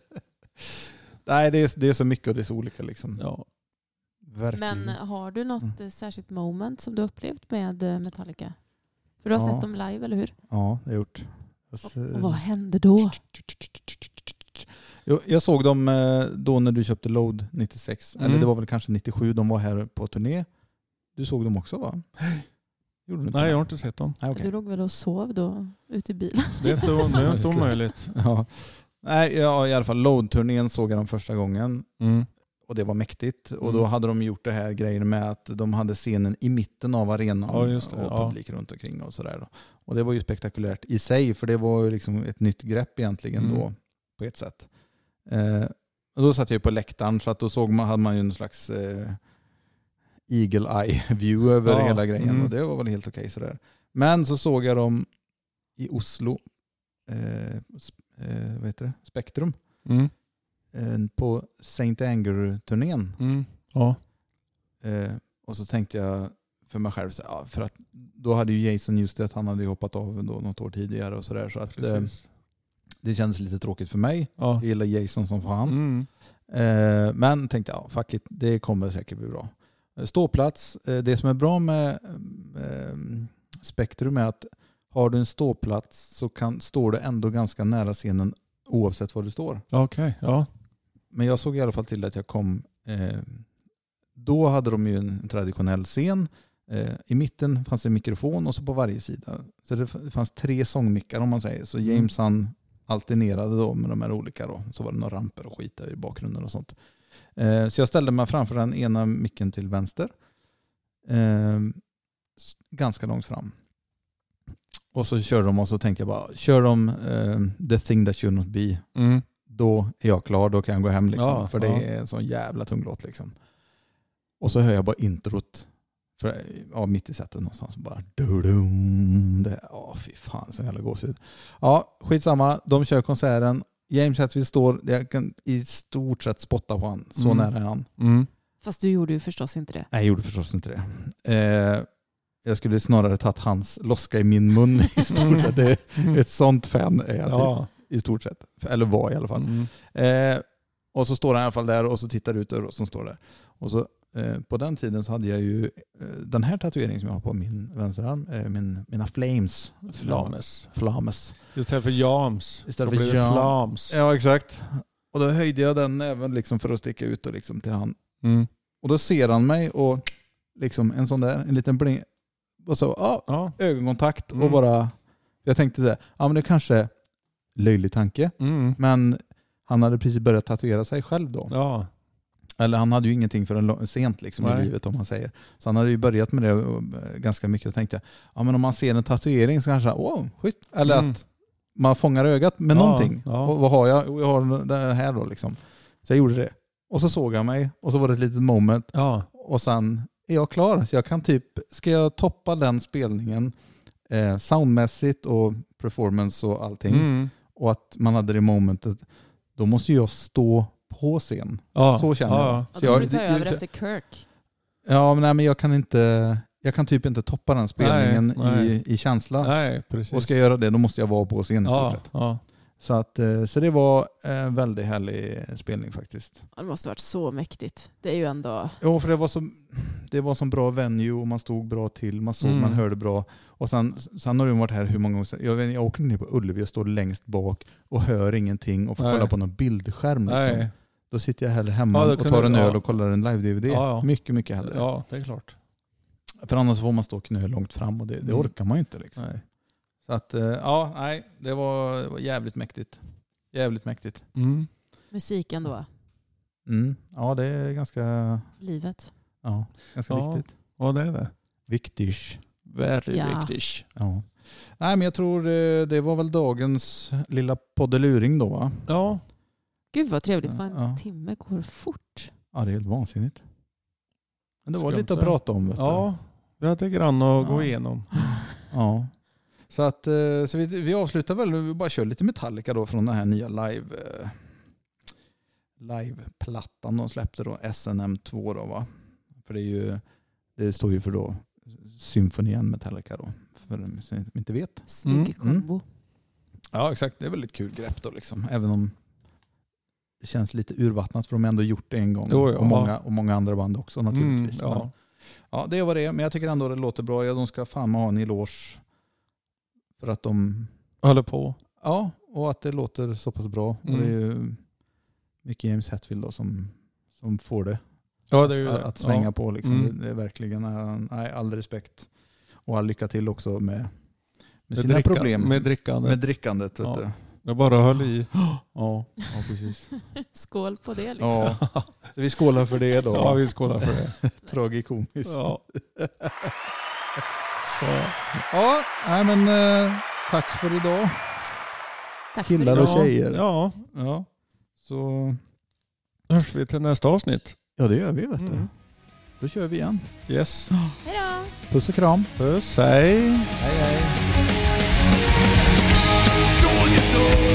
[LAUGHS] nej, det är, det är så mycket och det är så olika liksom. [LAUGHS] Ja. Verkligen. Men har du något Mm. eh, särskilt moment som du upplevt med eh, Metallica? För du har Ja. sett dem live, eller hur? Ja, det har jag gjort. Alltså, Jag ser- Och Eh. vad hände då? Jag, jag såg dem eh, då när du köpte Load 96. Eller Mm. det var väl kanske 97 de var här på turné. Du såg dem också va? Gjorde du inte Nej, det? jag har inte sett dem. Nej, okej. Du låg väl och sov då, ute i bilen? Det är inte, det är Just inte det. omöjligt. ja. Nej, ja, i alla fall Load-turnén såg jag dem första gången. Mm. Och det var mäktigt. Och Mm. då hade de gjort det här grejen med att de hade scenen i mitten av arenan Ja, just det, och ja. publik runt omkring och sådär. då. Och det var ju spektakulärt i sig, för det var ju liksom ett nytt grepp egentligen Mm. då, på ett sätt. Eh, och då satt jag ju på läktaren, så att då såg man, hade man ju en slags eh, eagle eye [LAUGHS] view över Ja, hela grejen mm. och det var väl helt okej sådär. Men så såg jag dem i Oslo, eh, sp- eh, vad heter det? Spektrum, Mm. eh, på St. Anger-turnén. Mm. Ja. Eh, och så tänkte jag för mig själv, så, här, ja, för att då hade ju Jason Newsted, han hade ju hoppat av då något år tidigare och sådär. Så att eh, Precis. det kändes lite tråkigt för mig. Ja. Jag gillar Jason som fan. Mm. Eh, men tänkte jag, fuck it, det kommer säkert bli bra. Eh, Ståplats, eh, det som är bra med eh, Spektrum är att har du en ståplats så kan, står du ändå ganska nära scenen oavsett var du står. Okej, ja. Men jag såg i alla fall till att jag kom. Eh, då hade de ju en traditionell scen. Eh, I mitten fanns det en mikrofon och så på varje sida. Så det f- fanns tre sångmickar om man säger. Så Mm. James han alternerade då med de här olika då. Så var det några ramper och skit där i bakgrunden och sånt. Eh, så jag ställde mig framför den ena micken till vänster. Eh, s- ganska långt fram. Och så kör de och så tänkte jag bara, kör de eh, The thing that should not be Mm. då är jag klar, då kan jag gå hem. Liksom, Ja, för det ja. är en sån jävla tung låt. Liksom. Och så hör jag bara introt för, ja, mitt i setet någonstans. Bara, dudum, det, ja, fy fan, så jävla gåshud. Ja, skitsamma, de kör konserten. James Hetfield står, jag kan i stort sett spotta på han. Så Mm. nära är han. Mm. Fast du gjorde ju förstås inte det. Nej, jag gjorde förstås inte det. Eh, jag skulle snarare tagit hans loska i min mun [LAUGHS] [LAUGHS] i stort sett. Det, är- [LAUGHS] ett sånt fan är jag typ, Ja. i stort sett. Eller var i alla fall. Mm. Eh, och så står han i alla fall där och så tittar ut över oss som står där. Och så, eh, på den tiden så hade jag ju eh, den här tatueringen som jag har på min vänsterarm, eh, min, mina flames. Flames. Flames. Istället för jams Istället så för blir det jam. flams. Ja, exakt. Och då höjde jag den även liksom för att sticka ut och liksom till han. Mm. Och då ser han mig och liksom en sån där, en liten bling. och så, ja, Ja. ögonkontakt och Mm. bara... Jag tänkte så här, ja men det kanske är löjlig tanke, Mm. men han hade precis börjat tatuera sig själv då. Ja. Eller han hade ju ingenting förrän lång- sent liksom, i Nej. livet om man säger. Så han hade ju börjat med det och, eh, ganska mycket och tänkte, ja men om man ser en tatuering så kanske, wow, schysst. Eller Mm. att man fångar ögat med Ja, någonting. ja. Och, vad har jag? Jo, Jag har det här då liksom. Så jag gjorde det. Och så såg han mig och så var det ett litet moment Ja. och sen är jag klar. Så jag kan typ, ska jag toppa den spelningen eh, soundmässigt och performance och allting Mm. och att man hade det momentet, då måste jag stå på scen. ja. Så känner ja. jag. Ja, Så då får du jag, ta det- över det- efter Kirk. Ja, men, nej, men jag kan inte... Jag kan typ inte toppa den spelningen Nej, I, i känsla. Nej, precis. Och ska jag göra det, då måste jag vara på scen i stort ja, sett. ja. Så, att, eh, så det var en väldigt härlig spelning faktiskt. Ja, det måste varit så mäktigt. Det är ju ändå... Jo, för det var så det var som bra venue och man stod bra till, man såg, Mm. man hörde bra. Och sen, sen har det varit här hur många gånger som- jag, vet inte, jag åker ner på Ullevi och står längst bak och hör ingenting och får Nej. kolla på någon bildskärm. Liksom. Nej. Då sitter jag hellre hemma Ja, då och kan tar du- en öl ja. och kollar en live-DVD. Ja, ja. Mycket, mycket hellre. Ja, det är klart. För annars får man stå knö långt fram och det, det Mm. orkar man ju inte. Liksom. Nej. Så att, eh, ja, nej, det var, det var jävligt mäktigt. Jävligt mäktigt. Mm. Musiken då, Mm. Ja, det är ganska, livet. ja, ganska Ja. viktigt. Ja, det är det. Viktigt. Very Ja. viktigt. Ja. Nej, men jag tror eh, det var väl dagens lilla poddeluring då va? Ja, Gud vad trevligt, vad en Ja. timme går fort. Ja, det är helt vansinnigt. Men det var Ska jag lite att inte säga. prata om. Vet du. ja. Vi hade grann att Ja. gå igenom. ja. Så, att, eh, så vi, vi avslutar väl, vi bara kör lite Metallica då från den här nya live eh, liveplattan de släppte då, SNM2 då va? För det, är ju, det står ju för då symfonien Metallica då, för de som inte vet. Snygg Mm, mm. kombo. Ja exakt, det är väl ett kul grepp då liksom, även om det känns lite urvattnat för de har ändå gjort det en gång Jo, ja. och, många, och många andra band också naturligtvis. Mm, Men- ja. Ja, det var det. Men jag tycker ändå det låter bra. Ja, de ska fan ha en eloge. För att de... Håller på. Ja, och att det låter så pass bra. Mm. Och det är ju mycket James Hetfield då som, som får det Ja, det är ju att, det. att svänga på. Liksom. Mm. Det, det är verkligen... eh, Nej, all respekt. Och all lycka till också med, med sina dricka- problem. Med drickandet. med drickandet. Vet Ja. du. Jag bara höll i. Ja, ja, [LAUGHS] precis. Skål på det liksom. Ja. Så vi skålar för det då. Ja, vi skålar för [LAUGHS] det. Tragikomiskt. Ja. Så, Ja, nej, men eh, tack för idag. Tack för Killar idag. och Ja. tjejer. ja, Ja, så... hörs vi till nästa avsnitt. Ja, det gör vi vet du. Mm. Då kör vi igen. Yes. Hej då! Puss och kram. Puss, hej. Hej hej. Throwing your soul